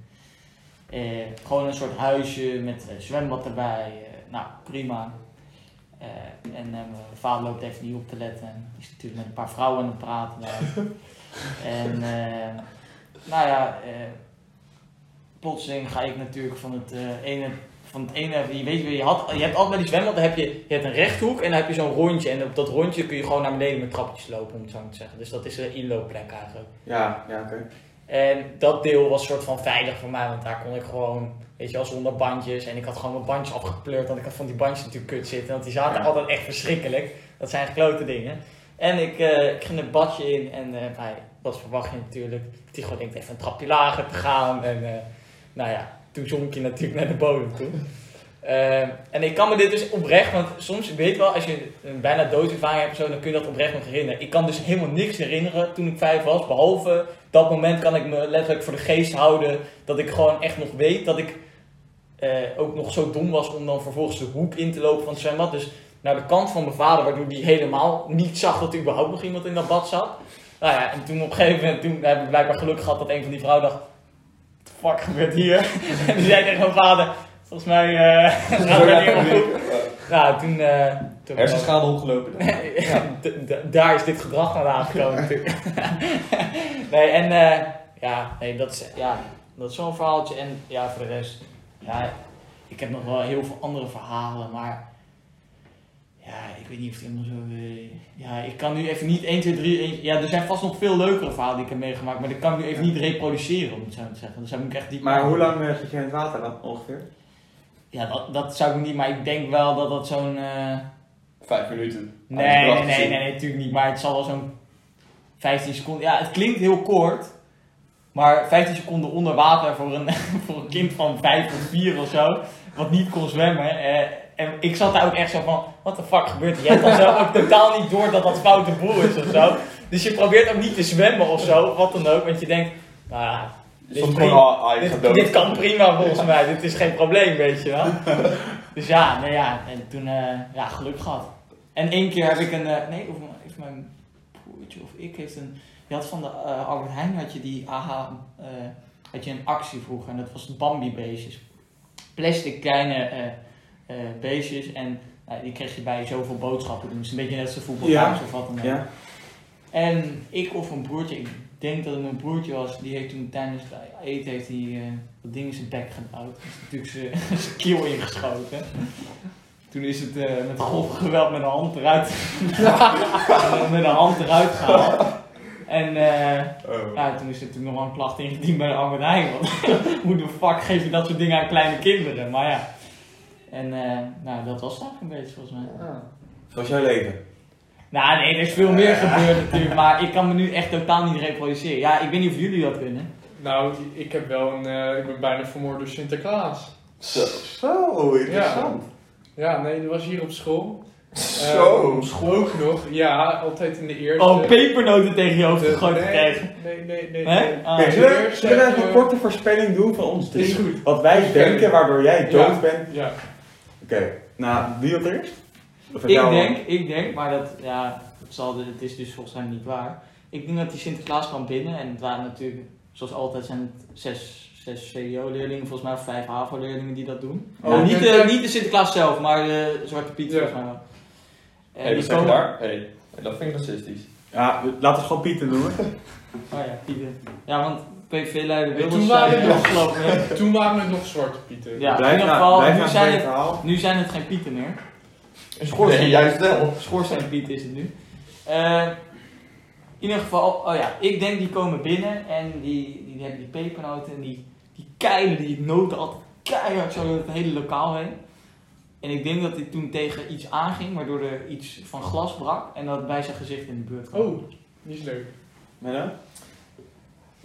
S2: Eh, gewoon een soort huisje met eh, zwembad erbij. eh, nou, prima. Eh, en eh, mijn vader loopt even niet op te letten. En is natuurlijk met een paar vrouwen aan het praten. daar. en eh, nou ja, eh, plotseling ga ik natuurlijk van het eh, ene. Van het ene, je weet je, je, had, je hebt altijd bij die zwembad, dan heb je, je hebt een rechthoek en dan heb je zo'n rondje. En op dat rondje kun je gewoon naar beneden met trapjes lopen, om het zo maar te zeggen. Dus dat is een inloopplek eigenlijk.
S1: Ja, ja oké.
S2: En dat deel was soort van veilig voor mij, want daar kon ik gewoon, weet je wel, zonder bandjes. En ik had gewoon mijn bandjes afgepleurd, want ik had van die bandjes natuurlijk kut zitten. Want die zaten
S1: Ja.
S2: altijd echt verschrikkelijk. Dat zijn klote dingen. En ik, eh, ik ging een badje in en eh bij, wat verwacht je natuurlijk? Die gewoon denkt even een trapje lager te gaan. En eh, nou ja, toen zonk je natuurlijk naar de bodem toe. Eh, en ik kan me dit dus oprecht, want soms weet je wel, als je een bijna doodervaring hebt of zo, dan kun je dat oprecht nog herinneren. Ik kan dus helemaal niks herinneren toen ik vijf was, behalve dat moment kan ik me letterlijk voor de geest houden dat ik gewoon echt nog weet dat ik eh, ook nog zo dom was om dan vervolgens de hoek in te lopen van het zwembad. Dus naar de kant van mijn vader, waardoor die helemaal niet zag dat er überhaupt nog iemand in dat bad zat. Nou ja, en toen op een gegeven moment toen heb ik blijkbaar geluk gehad dat een van die vrouwen dacht, what the fuck gebeurt hier? en die zei tegen mijn vader, volgens mij eh gaat er niet op hoek." Nou, toen... eh toen heb ik wel-
S3: Hersenschade opgelopen. dan.
S2: D- d- daar is dit gedrag naar aangekomen natuurlijk. nee, en eh, ja, nee, dat is, ja, dat is zo'n verhaaltje. En ja, voor de rest, ja, ik heb nog wel heel veel andere verhalen, maar ja, ik weet niet of het helemaal zo... eh, ja, ik kan nu even niet 1, 2, 3... één- ja, er zijn vast nog veel leukere verhalen die ik heb meegemaakt, maar dat kan ik nu even niet reproduceren, om het zo te zeggen. Dus daar moet ik echt diep
S1: Maar hoe lang eh, zit je in het water dan ongeveer?
S2: Ja, dat, dat zou ik niet, maar ik denk wel dat dat zo'n... eh,
S3: Vijf minuten.
S2: Nee,
S3: Aan de
S2: nee,
S3: kracht
S2: nee, nee,
S3: gezien.
S2: nee, natuurlijk niet. Maar het zal wel zo'n 15 seconden. Ja, het klinkt heel kort. Maar 15 seconden onder water voor een, voor een kind van 5 of 4 of zo. Wat niet kon zwemmen. eh, en ik zat daar ook echt zo van: wat de fuck gebeurt er? Je hebt dan zelf ook totaal niet door dat dat foute boel is of zo. Dus je probeert ook niet te zwemmen of zo. Wat dan ook. Want je denkt: nou ja,
S3: Je
S2: Dit
S3: Stond
S2: is
S3: gewoon al, ah, je gaat
S2: dit,
S3: dood.
S2: dit kan prima volgens mij, dit is geen probleem, weet je wel. Dus ja, nou ja, en toen eh, ja, geluk gehad. En één keer heb ik een, eh, nee, of m- heeft mijn broertje of ik heeft een, je had van de eh, Albert Heijn had je die AHA, eh, had je een actie vroeger en dat was Bambi beestjes. Plastic kleine eh, eh, beestjes en nou, die kreeg je bij zoveel boodschappen doen. Dus een beetje net als de voetbalkaars of wat dan ook.
S1: Ja.
S2: En ik of een broertje, ik denk dat het mijn broertje was, die heeft toen tijdens het eten heeft hij, eh, dat ding in zijn bek gebouwd. Dus natuurlijk zijn- zijn keel ingeschoten. Toen is het eh, met grof geweld met een hand eruit. met een hand eruit gehaald. En eh,
S3: Oh.
S2: ja, toen is er toen nog wel een klacht ingediend bij de Albert Heijn. Want hoe de fuck geef je dat soort dingen aan kleine kinderen? Maar ja. En eh, nou, dat was het eigenlijk een beetje volgens mij.
S4: Ah.
S1: Zoals jouw leven.
S2: Nou, nee, er is veel meer gebeurd natuurlijk, maar ik kan me nu echt totaal niet reproduceren. Ja, ik weet niet of jullie dat kunnen.
S4: Nou, ik heb wel een. eh, ik ben bijna vermoord door Sinterklaas.
S3: Zo.
S1: Zo, interessant.
S4: Ja, nee, dat was hier op school. Eh,
S3: Zo.
S4: op school ook nog. Ja, altijd in de eerste.
S2: Oh, pepernoten tegen je hoofd gegooid
S4: eh, nee,
S2: gekregen.
S4: Nee, nee, nee.
S2: Hè?
S4: nee.
S2: Ah.
S1: Kijk, zullen we, zullen we even
S4: Eh,
S1: een korte voorspelling doen van ons
S4: Is
S1: drie?
S4: goed.
S1: Wat wij denken waardoor jij dood
S4: Ja.
S1: bent.
S4: Ja.
S1: Oké, nou, wie dat eerst? Of heb jij
S2: Ik
S1: al-
S2: denk, ik denk, maar dat, ja, het, zal, het is dus volgens mij niet waar. Ik denk dat die Sinterklaas kwam binnen en het waren natuurlijk, zoals altijd, zijn het zes, zes CDO-leerlingen, volgens mij of vijf HAVO-leerlingen die dat doen.
S1: Oh,
S2: nou, niet,
S4: en-
S2: de, niet de Sinterklaas zelf, maar de Zwarte Piet,
S4: Ja.
S2: volgens mij wel. En
S3: Hé, hey,
S2: die
S3: wat zeg je
S2: komen-
S3: daar? Hé, dat vind ik racistisch.
S1: Ja, laten we gewoon Pieter noemen.
S2: Oh ja, Piet. Ja, want PV-leider
S4: Hey,
S2: Wilders
S4: toen waren
S2: zei
S4: we-
S2: afgelopen week-
S4: Toen waren het nog zwarte pieten.
S2: Ja, in
S1: blijf
S2: ieder
S1: nou-
S2: geval,
S1: blijf
S2: nu
S1: nou
S2: zijn
S1: bij
S2: het-
S1: verhaal.
S2: Nu zijn het geen pieten meer.
S3: Nee, juist wel.
S2: Schoorsteenpiet is het nu. Eh, in ieder geval, oh ja, ik denk die komen binnen en die, die, hebben die pepernoten en die, die keilen die noten altijd keihard zo door het hele lokaal heen. En ik denk dat dit toen tegen iets aanging, waardoor er iets van glas brak en dat bij zijn gezicht in de buurt kwam.
S4: Oh, die is leuk.
S1: Menno?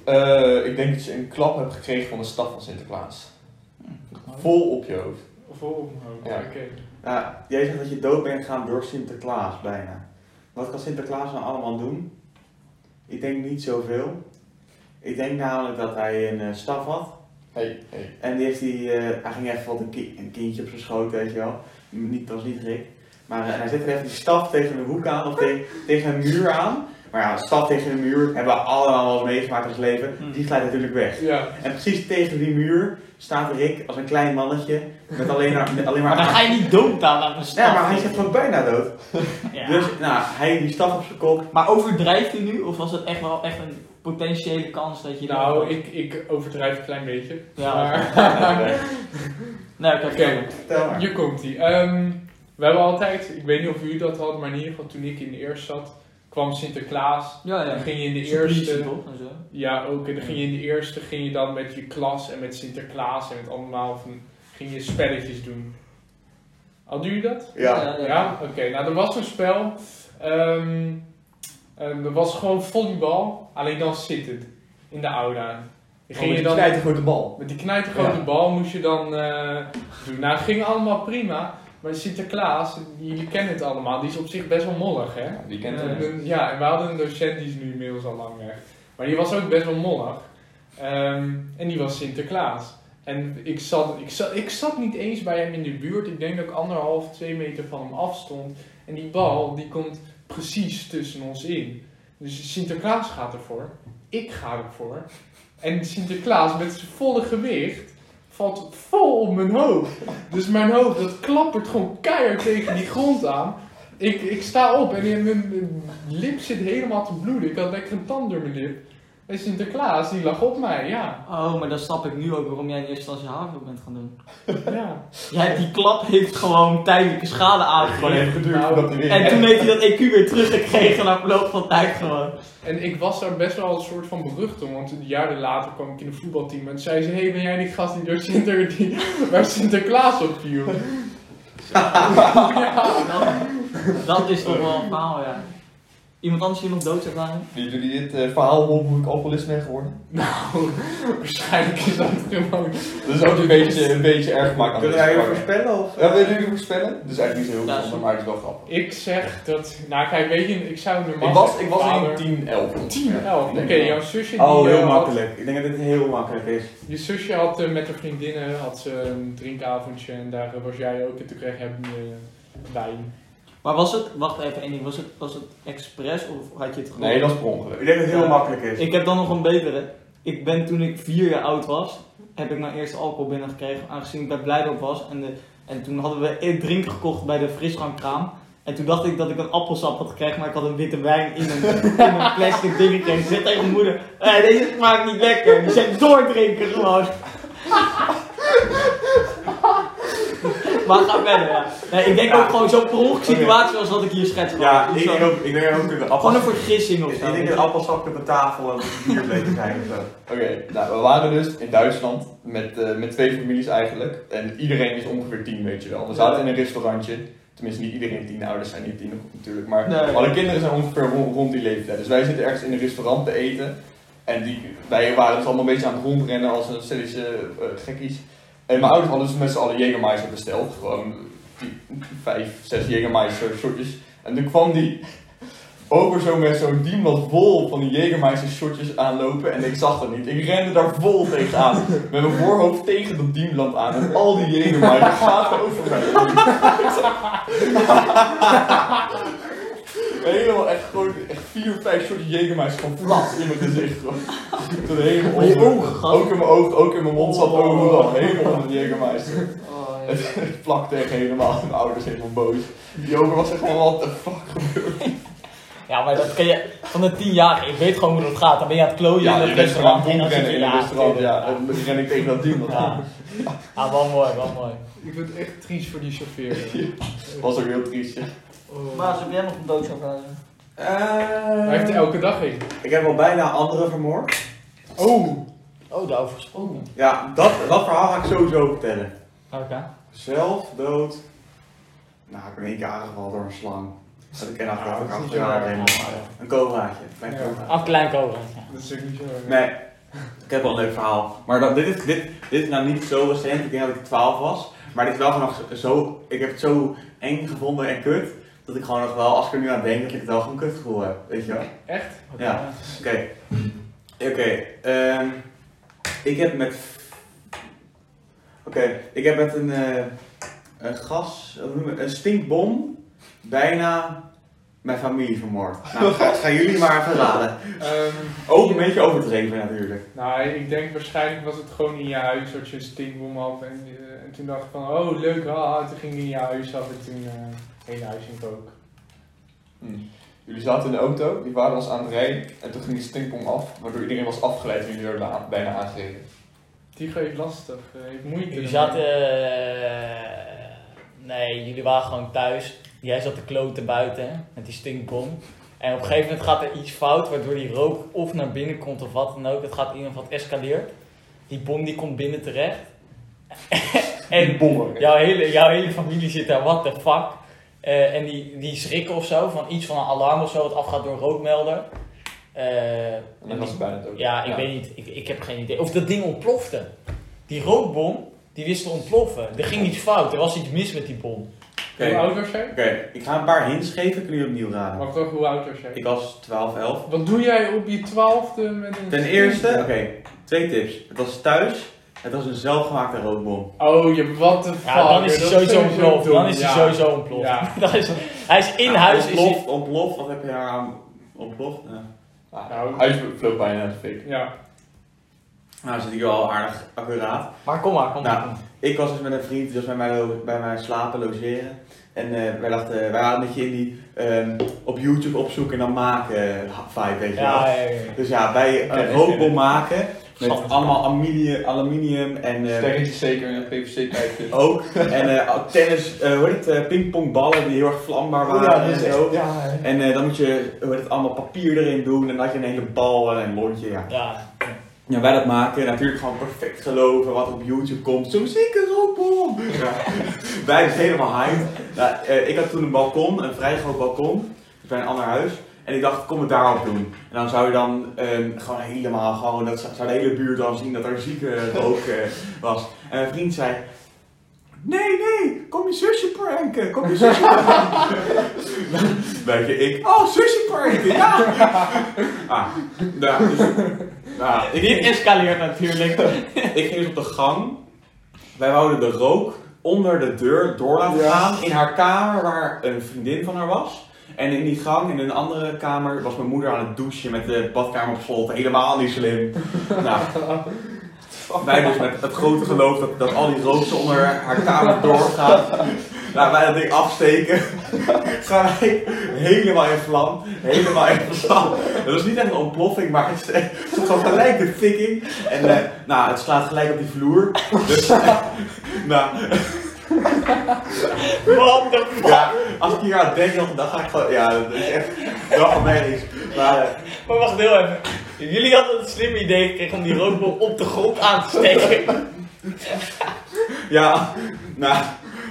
S3: Eh, ik denk dat je een klap hebt gekregen van de staf van Sinterklaas. Vol op je hoofd.
S4: Of omhoog.
S3: Ja.
S4: Oké.
S1: Nou, jij zegt dat je dood bent gegaan door Sinterklaas bijna. Wat kan Sinterklaas nou allemaal doen? Ik denk niet zoveel. Ik denk namelijk dat hij een eh, staf had.
S3: Hey, hey.
S1: En die heeft hij, eh, hij ging even wat een, ki- een kindje op zijn schoot, weet je wel. Niet, dat was niet Rick. Maar eh, hij zette even die staf tegen een hoek aan of te- tegen een muur aan. Maar ja, een stad tegen een muur hebben we allemaal wel eens meegemaakt in ons leven.
S2: Mm.
S1: Die glijdt natuurlijk weg.
S4: Ja.
S1: En precies tegen die muur staat Rick als een klein mannetje met alleen maar... Met alleen maar,
S2: Maar dan ga je niet dood aan aan een stad.
S1: Ja, maar hij zit gewoon bijna dood.
S2: Ja.
S1: Dus nou, hij die staf op zijn kop.
S2: Maar overdrijft hij nu? Of was het echt wel echt een potentiële kans dat je...
S4: Nou, ik, ik overdrijf een klein beetje.
S2: Ja.
S4: Maar...
S2: Nee, oké.
S4: Oké.
S1: Vertel maar.
S4: Hier komt hij. Ehm, we hebben altijd, ik weet niet of jullie dat hadden, maar in ieder geval toen ik in de eerste zat, kwam Sinterklaas.
S2: Ja, ja.
S4: Dan ging je in de
S2: Eerste
S4: eerste.
S2: toch? En zo.
S4: Ja, ook. En dan ging je in de eerste ging je dan met je klas en met Sinterklaas en met allemaal van, ging je spelletjes doen. Hadden jullie dat?
S1: Ja.
S4: Ja, oké. Nou, er was een spel. Ehm ehm, er was gewoon volleybal, alleen dan zittend in de aula.
S3: Oh,
S4: Dan Ging je dan
S3: knijt een grote bal.
S4: met die knijtergrote
S3: Ja.
S4: bal moest je dan eh, doen. Nou, het ging allemaal prima. Maar Sinterklaas, jullie kennen het allemaal, die is op zich best wel mollig, hè?
S3: Die kent
S4: En,
S3: hem.
S4: eh, ja, en we hadden een docent, die is nu inmiddels al lang weg. Maar die was ook best wel mollig. Ehm, en die was Sinterklaas. En ik zat, ik, zat, ik zat niet eens bij hem in de buurt. Ik denk dat ik anderhalf, twee meter van hem afstond. En die bal, die komt precies tussen ons in. Dus Sinterklaas gaat ervoor. Ik ga ervoor. En Sinterklaas met zijn volle gewicht valt vol op mijn hoofd. Dus mijn hoofd, dat klappert gewoon keihard tegen die grond aan. Ik, ik sta op en in mijn, mijn lip zit helemaal te bloeden. Ik had lekker een tand door mijn lip. En Sinterklaas, die lag op mij, ja.
S2: Oh, maar dan snap ik nu ook waarom jij in eerste instantie HAVO bent gaan doen.
S4: ja.
S2: Jij hebt die klap heeft gewoon tijdelijke schade aangegeven.
S3: geduurd voordat hij weer...
S2: En toen heeft hij dat EQ weer teruggekregen na verloop van tijd gewoon.
S4: En ik was daar best wel een soort van berucht om, want jaren later kwam ik in een voetbalteam en zei ze, hé, hey, ben jij die gast die door Sinter, die, waar Sinterklaas op viel?
S2: Dat, dat is toch wel een verhaal, ja. Iemand anders die nog dood zou gaan?
S3: Die, die, die dit eh, verhaal rond hoe ik alcoholist ben geworden.
S4: Nou, waarschijnlijk is dat gewoon...
S3: Dat is ook een beetje, een beetje erg gemaakt aan
S1: Kunnen
S3: deze
S1: wij weer
S3: pakken.
S1: voorspellen? Of? eh?
S3: Ja, willen jullie voorspellen? Dus eigenlijk niet zo heel
S2: Ja,
S3: bijzonder, maar het is wel grappig.
S4: Ik zeg dat, nou kijk, weet je, ik zou normaal
S3: Ik was,
S4: zeggen,
S3: ik was
S4: vader-
S3: in 10, 11.
S4: 10, 11. Oké, jouw zusje die,
S1: Oh,
S4: eh,
S1: heel
S4: had-
S1: makkelijk. Ik denk dat dit heel makkelijk is.
S4: Je zusje had eh, met haar vriendinnen had ze een drinkavondje en daar eh, was jij ook en toen kreeg je eh, wijn.
S2: Maar was het, wacht even één ding, was het, was het expres of had je het gewoon?
S3: Nee, dat is per ongeluk.
S1: Ik denk dat het heel
S2: Ja.
S1: makkelijk is.
S2: Ik heb dan nog een betere. Ik ben toen ik vier jaar oud was, heb ik mijn eerste alcohol binnengekregen, aangezien ik bij Blijdorp was. En, de, en toen hadden we e- drinken gekocht bij de frisdrankkraam. En toen dacht ik dat ik een appelsap had gekregen, maar ik had een witte wijn in een, in een plastic ding gekregen. Ik zeg tegen mijn moeder, "Hé, deze smaakt niet lekker. Die zegt doordrinken gewoon. maar ga verder, ja. Nee, ik denk
S1: Ja.
S2: ook gewoon zo'n per ongeluk situatie als wat ik hier schets.
S1: Ja,
S2: Gewoon.
S1: ik denk ook, ik denk ook dat de
S2: Gewoon een
S1: appels...
S2: vergissing of
S1: Ik
S2: zo.
S1: denk dat appelsakken op de tafel en bier bleven zijn of zo.
S3: Oké, nou, we waren dus in Duitsland met, eh, met twee families eigenlijk. En iedereen is ongeveer tien, weet je wel. We zaten in een restaurantje. Tenminste, niet iedereen tien, ouders zijn niet tien natuurlijk. Maar
S2: Nee.
S3: alle kinderen zijn ongeveer rond, rond die leeftijd. Dus wij zitten ergens in een restaurant te eten. En die, wij waren dus allemaal een beetje aan het rondrennen als een stelletje eh, gekkies. En mijn ouders hadden dus met z'n allen Jägermeister besteld. Gewoon die, vijf, zes Jägermeister shotjes. En toen kwam die over zo met zo'n dienblad vol van die Jägermeister shotjes aanlopen en ik zag dat niet. Ik rende daar vol tegenaan. Met mijn voorhoofd tegen dat dienblad aan en al die Jägermeister gaat over mij. Helemaal echt gewoon echt vier, vijf shotjes Jägermeister gewoon plat in mijn gezicht. gewoon. Tot helemaal
S2: Maar je
S3: onder.
S2: ogen, gast.
S3: Ook in mijn oog, ook in mijn mond zat
S2: Oh.
S3: overal. Helemaal onder de Jägermeister.
S2: Oh, ja.
S3: Het plakte echt helemaal. Mijn ouders helemaal boos. Die over was echt van what the fuck.
S7: Ja, maar dat ken je van de tienjarige. Ik weet gewoon hoe dat gaat. Dan ben je aan het klooien
S3: Oh, Ja,
S7: in
S3: je
S7: het
S3: bent gewoon aan
S7: restaurant.
S3: het
S7: en dan zit
S3: rondrennen
S7: je
S3: in een
S7: daar.
S3: restaurant. Ja, en dan ren ik tegen dat team.
S7: Ja.
S3: Dat
S7: Ja, wel mooi, wel mooi.
S4: Ik vind het echt triest voor die chauffeur.
S3: was ook heel triest. ja.
S4: Oh.
S2: Baas, heb jij nog een doodschap aan?
S1: Eh,
S4: Hij heeft er elke dag een.
S1: Ik heb al bijna anderen vermoord.
S4: Oh,
S7: Oh, daarover gesproken.
S1: Ja, dat, dat verhaal ga ik sowieso vertellen.
S7: Oké.
S1: Zelfdood. Nou, ik ben één keer aangevallen door een slang. Dat ik ken achteraf ook
S4: dat is niet
S1: achter
S4: zo
S1: elkaar
S4: erg.
S1: helemaal.
S2: eh,
S1: Een colaatje. Mijn
S4: Ja.
S1: colaatje.
S7: Af klein kolen.
S4: dat is ook niet zo. erg.
S1: Nee, ik heb wel een leuk verhaal. Maar dat, dit, is, dit, dit is nou niet zo recent, ik denk dat ik 12 was. Maar dit is wel gewoon nog zo, ik heb het zo eng gevonden en kut. Dat ik gewoon nog wel, als ik er nu aan denk, dat ik het wel gewoon kut gevoel heb. Weet je wel?
S4: Echt?
S1: Ja. Oké. Oké. ehm, ik heb met. Oké, ik heb met een, eh, een gas, hoe noem je- een stinkbom bijna mijn familie vermoord. Nou, dat gaan jullie maar verraden. Ook een beetje overdreven natuurlijk.
S4: Ehm, nou, ik denk waarschijnlijk was het gewoon in je huis dat je een stinkbom had. En, eh, en toen dacht ik van, oh leuk, haha. Toen ging ik in je huis af en toen eh hele huis in kook.
S3: Jullie zaten in de auto, die waren ons aan het rijden en toen ging die stinkbom af, waardoor iedereen was afgeleid en jullie werden aan- bijna aangereden.
S4: Die geeft lastig, eh, heeft moeite.
S2: Jullie
S4: ermee.
S2: zaten. eh, nee, jullie waren gewoon thuis. Jij zat te kloten buiten met die stinkbom. En op een gegeven moment gaat er iets fout, waardoor die rook of naar binnen komt of wat dan ook. Het gaat in ieder geval, het escaleert. Die bom die komt binnen terecht. en
S3: Die bommen.
S2: jouw hele, jouw hele familie zit daar, what the fuck. Eh, en die, die schrikken of zo, van iets van een alarm of zo, wat afgaat door een rookmelder. Eh,
S3: En dan was het bijna dood.
S2: ja, ik weet niet. Ik, ik heb geen idee. Of dat ding ontplofte. Die rookbom, die wist te ontploffen. Er ging iets fout. Er was iets mis met die bom.
S1: Oké,
S4: Hoe
S1: oké.
S4: oud was jij?
S1: ik ga een paar hints geven, kunnen jullie opnieuw raden.
S4: Wacht even, hoe oud was jij?
S1: Ik was 12, 11.
S4: Wat doe jij op je twaalfde met een
S1: Ten eerste, oké, twee tips. Het was thuis, het was een zelfgemaakte rookbom.
S4: Oh, je wat de fuck.
S2: Ja, dan is hij
S4: dat
S2: sowieso ontploft.
S4: dom,
S2: Dan is hij
S4: ja.
S2: sowieso ontploft.
S4: Ja.
S2: Dan is, hij is in
S1: Ja,
S2: huis. Is hij,
S1: Ontploft, ontploft, wat heb je daar aan ontploft? Ja.
S3: Ah,
S4: Nou.
S3: huis vloog bijna naar de fik.
S4: Ja.
S1: Nou, zit ik wel aardig accuraat.
S2: maar kom maar, kom maar.
S1: Nou,
S2: kom maar.
S1: Ik was dus met een vriend, die was bij mij, lo- bij mij slapen, logeren. En eh, wij dachten, wij waren een beetje in die ehm, op YouTube opzoeken en dan maken eh, vibe, weet je wel.
S2: Ja, ja, ja, ja.
S1: Dus ja, wij
S3: Ja,
S1: een
S3: ik
S1: rookbom
S3: vind het.
S1: maken met
S2: Schattig.
S1: allemaal aluminium, aluminium en eh,
S3: Sterretjes zeker en PVC-pijpjes.
S1: ook. En eh, tennis, eh, hoe heet het, eh, pingpongballen die heel erg vlambaar waren
S3: Oh ja, dat
S1: en
S3: is
S1: zo.
S3: echt. Ja, hè.
S1: En eh, dan moet je hoe heet het, allemaal papier erin doen en dan had je een hele bal en een lontje. Ja.
S2: Ja.
S1: ja, wij dat maken natuurlijk gewoon perfect geloven wat op YouTube komt. Zo zeker rookbom! Ja. wij zijn helemaal hyped. Nou, eh, ik had toen een balkon, een vrij groot balkon, dus bij een ander huis. En ik dacht, kom het daarop doen. En dan zou je dan ehm, gewoon helemaal, gewoon, dat zou zou de hele buurt dan zien dat er zieke rook eh, was. En mijn vriend zei, nee, nee, kom je zusje pranken, kom je zusje pranken. Weet je, ik, oh, zusje pranken, ja. ah, nou, dus, nou, ik,
S2: Dit escaleert natuurlijk.
S1: ik ging dus op de gang. Wij wouden de rook onder de deur door laten
S3: Ja.
S1: gaan. In haar kamer waar een vriendin van haar was. En in die gang, in een andere kamer, was mijn moeder aan het douchen met de badkamer op slot. Helemaal niet slim. nou, wij dus met het grote geloof dat, dat al die rook zo onder haar kamer doorgaat. Nou, wij dat ding afsteken. Gaan wij helemaal in vlam. Helemaal in vlam. Het was niet echt een ontploffing, maar het is- het is gewoon gelijk de fikking. En eh, nou, het slaat gelijk op die vloer. Dus, eh, nou,
S2: What the fuck?
S1: ja, als ik hier aan denk, dan- dan ga ik gewoon, ja, dat is echt wel gemeen. Maar eh,
S2: Maar wacht heel even. Jullie hadden het slimme idee gekregen om die rookbom op de grond aan te steken.
S1: ja, nou,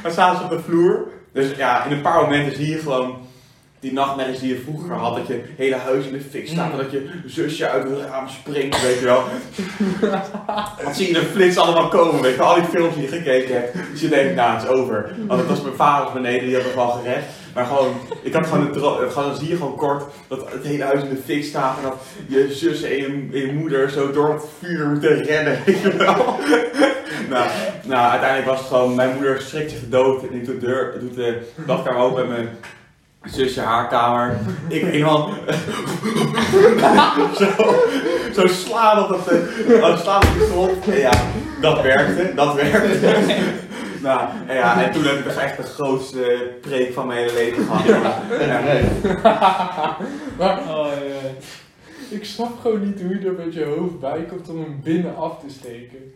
S1: dan staan ze op de vloer. Dus ja, in een paar momenten zie je gewoon die nachtmerries die je vroeger had. Dat je hele huis in de fik staat en dat je zusje uit het raam springt, weet je wel. Wat zie je de flits allemaal komen, weet je wel. Al die films die je gekeken hebt. Dus je denkt, nou, het is over. Want het was mijn vader beneden, die had me gewoon gered. Maar gewoon, ik had gewoon een droom, gewoon, dan zie je gewoon kort dat het hele huis in de fik staat. En dat je zus en je, en je moeder zo door het vuur moeten rennen, weet je wel. nou, nou, uiteindelijk was het gewoon, mijn moeder schrikt zich dood. En ik doe de deur, doet de badkamer open en mijn zusje haar kamer. Ik iemand zo, zo slaan op dat eh, oh, slaan op de grond. En ja, dat werkte, dat werkte. nou, en ja, en toen heb ik dus echt de grootste preek van mijn hele leven gehad.
S3: Ja,
S1: Ja.
S3: nee.
S4: Maar
S5: Oh, ja.
S4: ik snap gewoon niet hoe je er met je hoofd bij komt om hem binnen af te steken.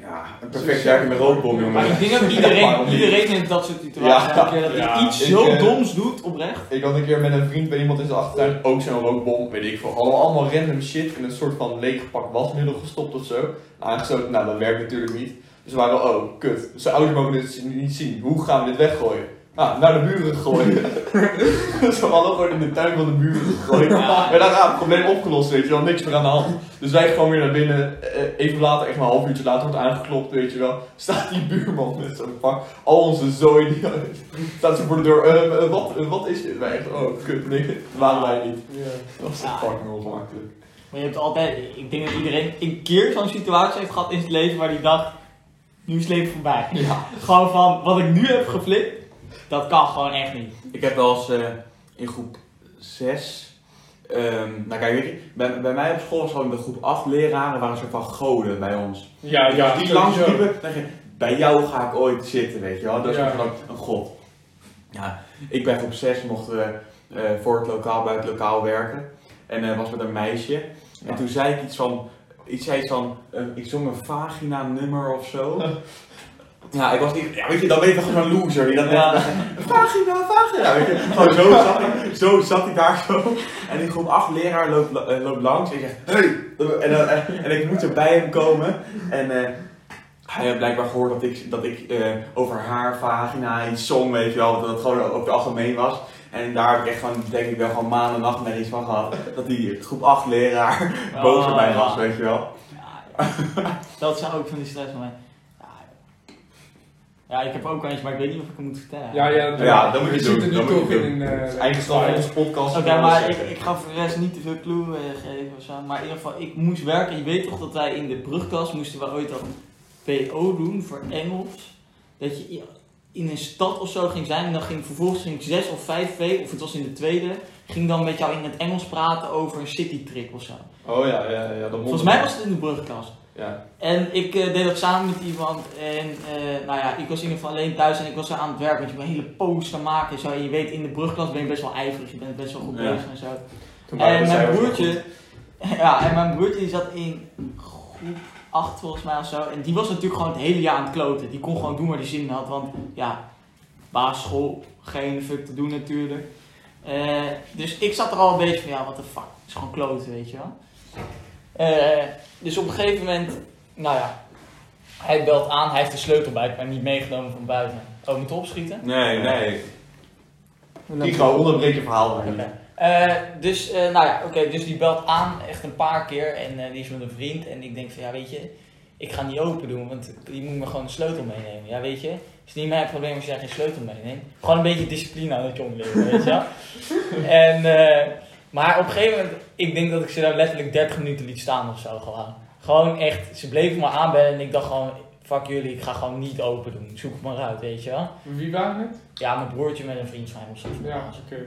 S1: Ja, een perfect jaar in mijn rookbom,
S2: Maar
S1: jongen.
S2: ik denk dat iedereen, iedereen in dat soort situaties
S3: Ja.
S2: een keer dat hij
S4: Ja.
S2: iets
S3: Ik,
S2: zo
S3: eh,
S2: doms doet, oprecht.
S3: Ik had een keer met een vriend bij iemand in zijn achtertuin ook zo'n rookbom, weet ik veel. Hadden we allemaal random shit in een soort van leeggepakt wasmiddel gestopt of zo. Aangesloten, nou dat werkt natuurlijk niet. Dus we waren wel, oh kut, zijn ouders mogen dit niet zien. Hoe gaan we dit weggooien? Nou, naar de buren gooien. dus we hadden gewoon in de tuin van de buren gegooid.
S2: Ja.
S3: En daar ah, het probleem opgelost, weet je wel, niks meer aan de hand. Dus wij gewoon weer naar binnen. Eh, Even later, echt maar een half uurtje later, wordt aangeklopt, weet je wel. Staat die buurman met zo'n pak, al onze zooi, die staat ze voor de deur. eh, eh, wat, eh, wat is dit? Wij echt, oh kut, nee, dat waren wij niet.
S4: Ja.
S3: Dat was
S2: Ja.
S3: echt fucking ongemakkelijk.
S2: Maar je hebt altijd, ik denk dat iedereen een keer zo'n situatie heeft gehad in zijn leven waar die dacht, nu is het leven voorbij.
S3: Ja.
S2: Gewoon van, wat ik nu heb geflikt, dat kan gewoon echt niet.
S1: Ik heb wel eens eh, in groep zes. Ehm nou kijk, weet je, bij, bij mij op school was gewoon de groep acht leraren waren een soort van goden bij ons.
S4: Ja, ja.
S1: Dus die
S4: sowieso.
S1: langs liepen, zeg je, bij jou ga ik ooit zitten, weet je wel. Dat is
S4: Ja.
S1: gewoon een god. oh, Ja, ik ben op zes, mochten we eh, voor het lokaal, bij het lokaal werken. En eh, was met een meisje. En toen zei ik iets van, ik zei iets van, eh, ik zong een vagina nummer of zo. Ja, ik was niet, ja, weet je, dan ben je toch gewoon een loser. Die dat
S2: Ja.
S1: Vagina, vagina. Weet je, gewoon zo zat, ik, zo zat ik daar zo. En die groep 8 leraar loopt, la- eh, loopt langs en zegt, hey! En, dan- en ik moet er bij hem komen. En eh, hij had blijkbaar gehoord dat ik, dat ik eh, over haar vagina iets zong, weet je wel. Dat het gewoon ook algemeen was. En daar heb ik echt gewoon, denk ik wel, gewoon maanden nacht met iets van gehad. Dat die groep 8 leraar boos op mij
S2: Ah,
S1: was,
S2: ja.
S1: weet je wel.
S2: Ja, dat zou ook van die stress van mij. Ja, joh. Ja, ik heb er ook eentje, maar ik weet niet of ik hem moet vertellen.
S4: Ja, ja,
S1: Ja, dat moet je
S4: we
S1: doen,
S4: zitten nu
S1: dat moet je
S4: toch
S1: doen.
S4: in een... eh,
S3: Eigenschap van onze podcast.
S2: Oké, maar ik, ik ga voor de rest niet te veel clue eh, geven of zo. Maar in ieder geval, ik moest werken. Je weet toch dat wij in de brugklas moesten we ooit al een PO doen voor Engels. Dat je i- in een stad of zo ging zijn en dan ging vervolgens ging ik 6 of 5 V, of het was in de tweede, ging dan met jou in het Engels praten over een citytrip of zo.
S3: Oh ja, ja, ja. Dat
S2: Volgens mij was het in de brugklas.
S3: Ja.
S2: En ik eh, deed dat samen met iemand. En eh, nou ja, ik was in ieder geval alleen thuis en ik was zo aan het werk. Want je moet een hele post gaan maken. en Zo. En je weet, in de brugklas ben je best wel ijverig. Je bent best wel goed
S1: Ja.
S2: bezig en zo.
S3: Toen waren
S2: En
S3: we- zij
S2: mijn
S3: was wel
S2: broertje, ja, en mijn broertje die zat in groep 8 volgens mij of zo. En die was natuurlijk gewoon het hele jaar aan het kloten. Die kon gewoon doen waar die zin in had. Want ja, basisschool, geen fuck te doen natuurlijk. Eh, dus ik zat er al een beetje van, ja, wat de fuck. Het is gewoon kloten, weet je wel. Eh, dus op een gegeven moment, nou ja, hij belt aan. Hij heeft de sleutel bij, maar niet meegenomen van buiten. Oh, moet opschieten?
S1: Nee, nee.
S3: goed. Tigo, onderbreek je verhaal.
S2: Eh, dus, eh, nou ja, oké, dus die belt aan echt een paar keer en eh, die is met een vriend. En ik denk van, ja, weet je, ik ga niet open doen, want die moet me gewoon een sleutel meenemen. Ja, weet je, het is niet mijn probleem als jij geen sleutel meeneemt. Gewoon een beetje discipline aan het je omleert, weet je wel. En, eh, maar op een gegeven moment, ik denk dat ik ze daar letterlijk 30 minuten liet staan of zo gewoon. Gewoon echt, ze bleven me aanbellen en ik dacht gewoon, fuck jullie, ik ga gewoon niet open doen. Zoek het maar uit, weet je wel.
S4: Wie waren het?
S2: Ja, mijn broertje met een vriend van hem of zo.
S4: Ja, oké.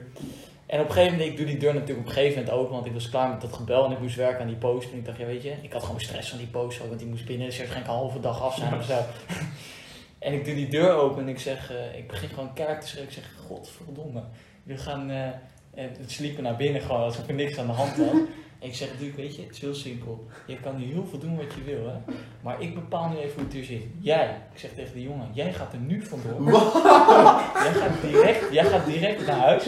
S2: En op een gegeven moment, ik doe die deur natuurlijk op een gegeven moment open, want ik was klaar met dat gebel en ik moest werken aan die post. En ik dacht, ja weet je, ik had gewoon stress van die post ook, want die moest binnen, dus waarschijnlijk een halve dag af zijn of zo. En ik doe die deur open en ik zeg, eh, ik begin gewoon kerk te schreeuwen. Ik zeg, godverdomme, we gaan, eh, eh, het sliepen naar binnen gewoon, alsof er niks aan de hand was. En ik zeg, natuurlijk, weet je, het is heel simpel. Je kan nu heel veel doen wat je wil, hè. Maar ik bepaal nu even hoe het er zit. Jij, ik zeg tegen die jongen, jij gaat er nu vandoor. jij, gaat direct, jij gaat direct naar huis.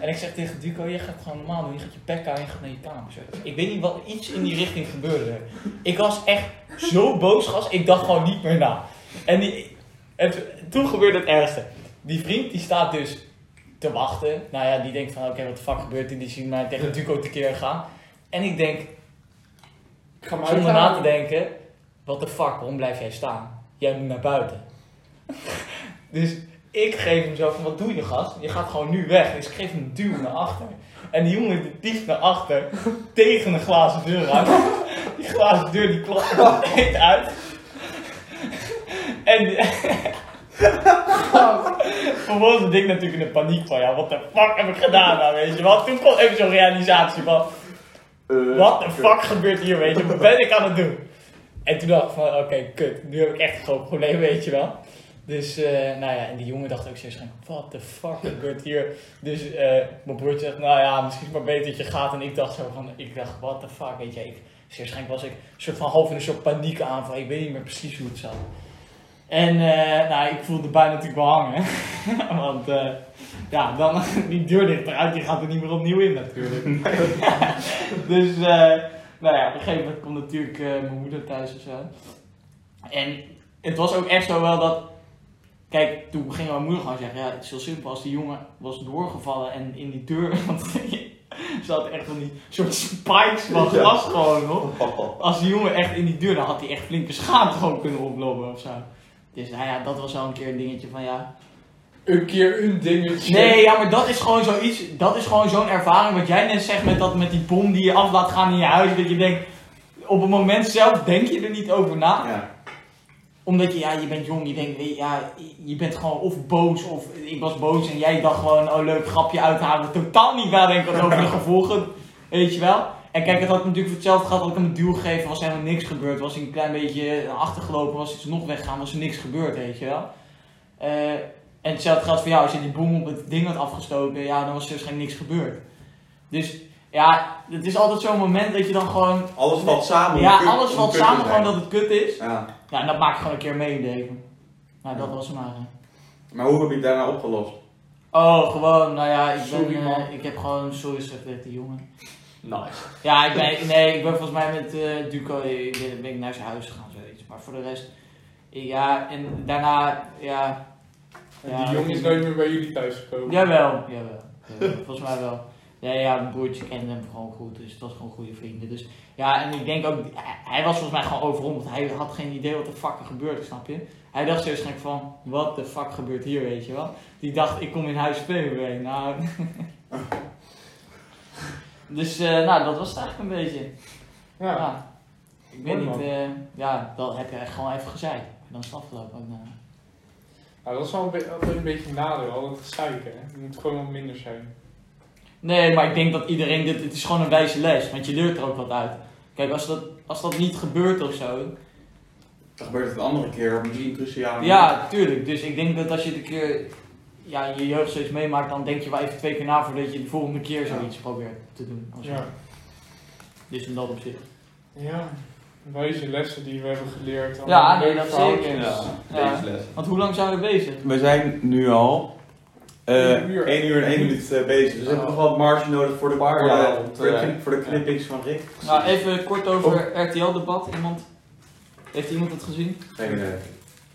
S2: En ik zeg tegen Duco, jij gaat het gewoon normaal doen. Je gaat je bek houden en je gaat naar je kamer. Zo. Dus Ik weet niet wat iets in die richting gebeurde. Ik was echt zo boos, gast. Ik dacht gewoon niet meer na. En, die, en t- toen gebeurde het ergste. Die vriend die staat dus te wachten. Nou ja, die denkt van oké, wat de fuck gebeurt er? Die zien mij tegen Duco tekeer gaan. En ik denk,
S4: Ik ga hem
S2: zonder na te
S4: uithalen.
S2: denken, wat de fuck, waarom blijf jij staan? Jij moet naar buiten. dus ik geef hem zo van, wat doe je gast? Je gaat gewoon nu weg. Dus ik geef hem een duw naar achter. En die jongen die dieft naar achter, tegen de glazen deur aan. die glazen deur die klapt compleet uit. en die- vervolgens ben ik natuurlijk in de paniek van, ja, wat de fuck heb ik gedaan nou, weet je wel. Toen kwam even zo'n realisatie van,
S3: Eh,
S2: wat de fuck gebeurt hier, weet je? Wat ben ik aan het doen? En toen dacht ik van, oké, kut. Nu heb ik echt een groot probleem, weet je wel. Dus, eh, nou ja, en die jongen dacht ook zo van, what the fuck gebeurt hier? Dus eh, mijn broertje zegt, nou ja, misschien is het maar beter dat je gaat. En ik dacht zo van, ik dacht, what the fuck, weet je. Ik, dus waarschijnlijk was ik een soort van half in een soort paniek aanval. Ik weet niet meer precies hoe het zat. En, eh, nou, ik voelde bijna natuurlijk wel hangen. Want, eh, ja, dan die deur ligt eruit, je gaat er niet meer opnieuw in natuurlijk. dus, eh, nou ja, op een gegeven moment komt natuurlijk eh, mijn moeder thuis of zo. En het was ook echt zo wel dat. Kijk, toen ging mijn moeder gewoon zeggen: ja, het is heel simpel. Als die jongen was doorgevallen en in die deur. Want ze had echt van die soort spikes van
S3: Ja.
S2: glas gewoon nog. Als die jongen echt in die deur, dan had hij echt flinke schaamte gewoon kunnen oplopen of zo. Dus nou ja, dat was wel een keer een dingetje van ja.
S4: Een keer een dingetje.
S2: Nee, ja, maar dat is gewoon zoiets. Dat is gewoon zo'n ervaring wat jij net zegt met, dat, met die bom die je af laat gaan in je huis. Dat je denkt, op het moment zelf denk je er niet over na.
S1: Ja.
S2: Omdat je, ja, je bent jong, je denkt, eh, ja, je bent gewoon of boos of ik was boos en jij dacht gewoon, oh leuk, grapje uithalen. Totaal niet nadenken over de gevolgen, weet je wel. En kijk, het had natuurlijk voor hetzelfde gehad, had ik hem een duw gegeven, was helemaal niks gebeurd. Was hij een klein beetje achtergelopen, was iets nog weggaan, was er niks gebeurd, weet je wel. Eh, en hetzelfde geldt voor jou, als je die boom op het ding had afgestoken, ja, dan was er waarschijnlijk niks gebeurd. Dus ja, het is altijd zo'n moment dat je dan gewoon
S1: Alles valt samen.
S2: ja,
S1: om kut-
S2: alles
S1: om
S2: valt
S1: kut te
S2: samen
S1: zijn.
S2: gewoon dat het kut is.
S1: Ja.
S2: Ja, en dat maak ik gewoon een keer mee in het leven. Nou, dat was hem eigenlijk.
S1: Maar hoe heb je het daarna opgelost?
S2: Oh, gewoon, nou ja, ik,
S4: Sorry,
S2: ben, eh,
S4: man.
S2: ik heb gewoon sorry gezegd tegen die jongen.
S5: Nice.
S2: Ja, ik ben, nee, ik ben volgens mij met eh, Duco ik ben, ben ik naar zijn huis gegaan, zoiets. Maar voor de rest, ja, en daarna, ja,
S4: En
S2: Ja,
S4: die jongen is
S2: dat is-
S4: nooit meer bij jullie thuis gekomen.
S2: jawel, jawel. jawel, volgens mij wel. Nee, ja, mijn broertje kende hem gewoon goed, dus het was gewoon goede vrienden. Dus ja, en ik denk ook, hij, hij was volgens mij gewoon overrompeld. Hij had geen idee wat er fuck er gebeurde, snap je? Hij dacht zo waarschijnlijk van, wat de fuck gebeurt hier, weet je wel? Die dacht, ik kom in huis spelen, nou... dus, eh, nou, dat was het eigenlijk een beetje. Ja.
S4: Ja.
S2: Ik weet
S4: Mooi,
S2: niet,
S4: man.
S2: eh, ja, dat heb je echt gewoon even gezeid. En dan is het afgelopen ook nou.
S4: Nou, dat is wel een be- altijd een beetje een nadeel, al dat gezeik, hè. Het moet gewoon wat minder zijn.
S2: Nee, maar ik denk dat iedereen dit. Het is gewoon een wijze les, want je leert er ook wat uit. Kijk, als dat, als dat niet gebeurt of zo.
S1: Dan gebeurt het een andere keer, op misschien cruciaal.
S2: Ja, tuurlijk. Dus ik denk dat als je het een keer ja, in je jeugd zoiets meemaakt, dan denk je wel even twee keer na voordat je de volgende keer zoiets probeert te doen. of zo.
S4: Ja.
S2: Dus in dat opzicht.
S4: Ja. Wijze lessen die we hebben geleerd.
S2: Ja,
S4: Allemaal
S2: nee,
S4: leuke
S2: dat
S4: verhaaltjes.
S2: zeker.
S3: Ja,
S2: Ja.
S3: levensles.
S2: Want hoe lang zijn we bezig?
S1: We zijn nu al eh,
S4: Een uur.
S1: 1 uur en 1 minuut eh, bezig. Dus we hebben nog wat marge nodig voor de,
S3: Paar,
S1: voor de,
S3: ja, want,
S1: voor de,
S3: eh,
S1: knip- voor de
S3: ja.
S1: knippings van Rick.
S2: Nou, even kort over RTL-debat. Iemand. Heeft iemand het gezien?
S1: Nee, nee, nee.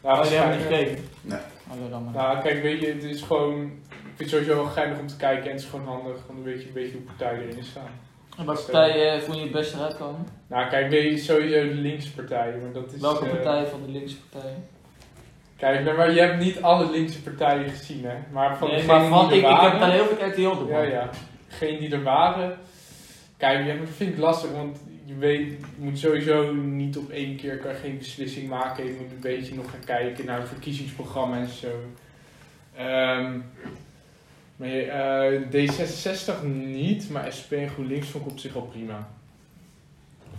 S4: Ja,
S2: oh,
S4: dat
S2: jullie
S4: is
S2: hebben het
S4: fijn,
S2: niet
S4: hè.
S2: gekeken?
S1: Nee.
S2: Oh, ja, dan maar.
S4: Nou, kijk, weet je, het is gewoon... Ik vind het sowieso wel geinig om te kijken en het is gewoon handig om een beetje, een beetje hoe partijen erin staan.
S2: En welke partij eh vond je het beste eruit komen?
S4: Nou, kijk, weet je, sowieso de linkse partijen, maar dat is...
S2: Welke
S4: eh,
S2: partij van de linkse partijen?
S4: Kijk, nou, maar je hebt niet alle linkse partijen gezien, hè. Maar van
S2: Nee,
S4: degene
S2: maar van,
S4: die
S2: ik,
S4: er
S2: ik heb
S4: waren...
S2: het alleen over het RTL-debat.
S4: Ja, ja. Degene die er waren... Kijk, ja, dat vind ik lastig, want je weet... Je moet sowieso niet op één keer kan je geen beslissing maken. Je moet een beetje nog gaan kijken naar verkiezingsprogramma's en zo. Ehm, maar je- eh, D66 niet, maar SP en GroenLinks vond ik op zich al prima.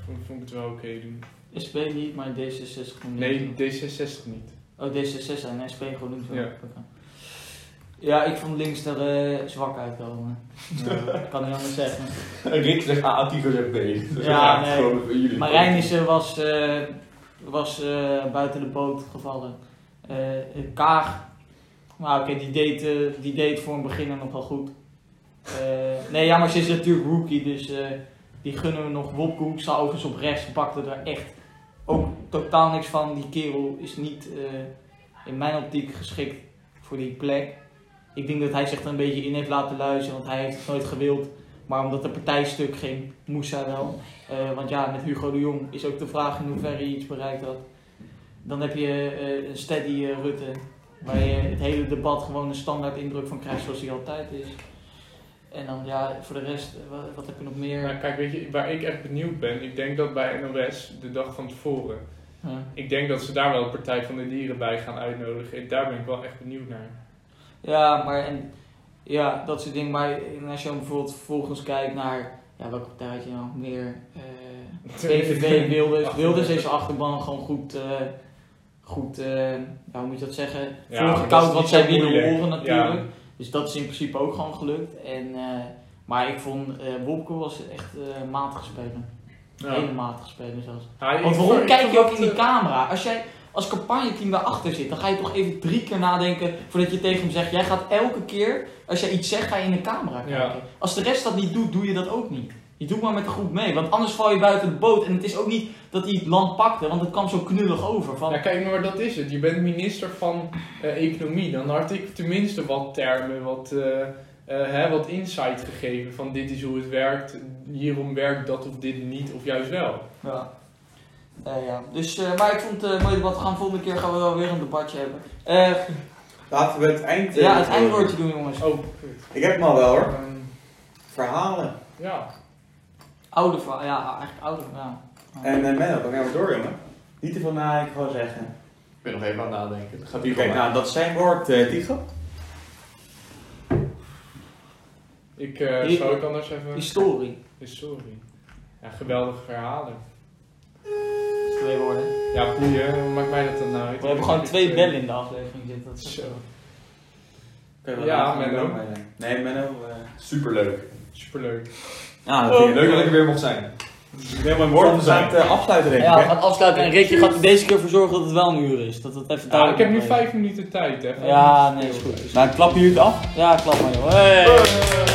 S4: Vond, vond ik het wel oké doen.
S2: SP niet, maar D66 GroenLinks.
S4: Nee, D66 niet.
S2: Oh, D66 en SP GroenLinks. wel.
S4: Ja.
S2: Oké. Ja, ik vond links er eh, zwak uitkomen. Ja, kan niet anders zeggen.
S3: Rick zegt A, Tico zegt B. Dus
S2: Ja,
S3: we gaan
S2: nee.
S3: gewoon met jullie.
S2: Marijnissen was, eh, was eh, buiten de boot gevallen. Eh, Kaag, maar oké, die, deed, eh, die deed voor een beginner nog wel goed. Eh, nee, ja, maar ze is natuurlijk rookie, dus eh, die gunnen we nog. Wopke Hoekstra overigens op rechts bakte er echt ook totaal niks van. Die kerel is niet eh, in mijn optiek geschikt voor die plek. Ik denk dat hij zich er een beetje in heeft laten luisteren, want hij heeft het nooit gewild. Maar omdat de partij stuk ging, moest hij wel. Eh, want ja, met Hugo de Jong is ook de vraag in hoeverre je iets bereikt had. Dan heb je eh, een steady eh, Rutte, waar je het hele debat gewoon een standaard indruk van krijgt zoals hij altijd is. En dan ja, voor de rest, eh, wa- wat, heb je nog meer?
S4: Nou, kijk, weet je, waar ik echt benieuwd ben, ik denk dat bij NOS de dag van tevoren
S2: Ja.
S4: Ik denk dat ze daar wel de Partij van de Dieren bij gaan uitnodigen. En daar ben ik wel echt benieuwd naar.
S2: Ja, maar en, ja, dat soort dingen. Maar en als je dan bijvoorbeeld vervolgens kijkt naar ja, welke partij had je nou nog meer? Eh PVV, Wilders. Wilders heeft zijn achterban gewoon goed, eh, goed eh, ja, hoe moet je dat zeggen?
S4: Ja, maar dat is
S2: Voorgekoud
S4: niet
S2: wat
S4: zo
S2: zij willen
S4: moeilijk.
S2: horen natuurlijk. Dus dat is in principe ook gewoon gelukt. En, eh, maar ik vond eh Wopke was echt eh matig spelen.
S4: Ja.
S2: Hele matig spelen zelfs.
S4: Ja,
S2: Want
S4: ik-
S2: waarom
S4: ik- eh,
S2: kijk je ook in
S4: ik-
S2: die camera? Als jij als campagneteam daarachter zit, dan ga je toch even drie keer nadenken voordat je tegen hem zegt. Jij gaat elke keer, als jij iets zegt, ga je in de camera kijken.
S4: eh, Ja.
S2: Als de rest dat niet doet, doe je dat ook niet. Je doet maar met de groep mee, want anders val je buiten de boot. En het is ook niet dat hij het land pakte, want het kwam zo knullig over. Van,
S4: Ja, kijk, maar dat is het. Je bent minister van eh, Economie. Dan had ik tenminste wat termen, wat, eh, eh, hè, wat insight gegeven. Van dit is hoe het werkt, hierom werkt dat of dit niet, of juist wel.
S2: Ja. Eh, ja. Dus, eh, maar ik vond het mooi debat. We gaan volgende keer gaan we wel weer een debatje hebben. Eh,
S1: Laten we het eind... eh,
S2: ja, het
S1: doen.
S2: eindwoordje doen, jongens.
S4: Oh, kut.
S1: Ik heb hem al wel hoor.
S4: Ehm,
S1: Verhalen.
S4: ja.
S2: Oude verhaal, ja, eigenlijk oude verhaal.
S1: En eh Menno, dan gaan we door jongen. Niet te veel nadenken, gewoon zeggen.
S3: ben nog even aan het nadenken. Dat gaat hier
S1: Oké,
S3: gewoon
S1: nou dat is zijn woord, eh Tigo.
S4: Ik, eh,
S2: Hier-
S4: zou ik anders even...
S2: Historie.
S4: Sorry. Ja, geweldige verhalen.
S2: Dat is twee woorden.
S4: Ja, boeien, hoe maakt mij dat dan nou uit?
S2: We hebben gewoon twee bellen in de aflevering zitten. Dat is
S4: Zo.
S1: Oké, wat
S4: Ja,
S1: gaan we
S4: Menno.
S1: doen? Nee, Menno. eh
S3: Superleuk.
S4: Superleuk.
S1: Nou,
S2: Oh.
S1: natuurlijk.
S3: Leuk dat ik er weer mocht zijn.
S1: Ik wil mijn woord we gaan het eh, afsluiten, denk ik.
S2: Ja, we
S1: hè?
S2: gaan afsluiten en Rick, je gaat er deze keer voor zorgen dat het wel een uur is. Dat het even
S4: Ja, Ah, ik
S2: duidelijk
S4: heb nu
S2: blijft.
S4: vijf minuten tijd, hè.
S2: Ja, nee, is goed.
S1: Nou, klappen jullie het af?
S2: Ja, klap maar joh. Hey.
S4: Eh,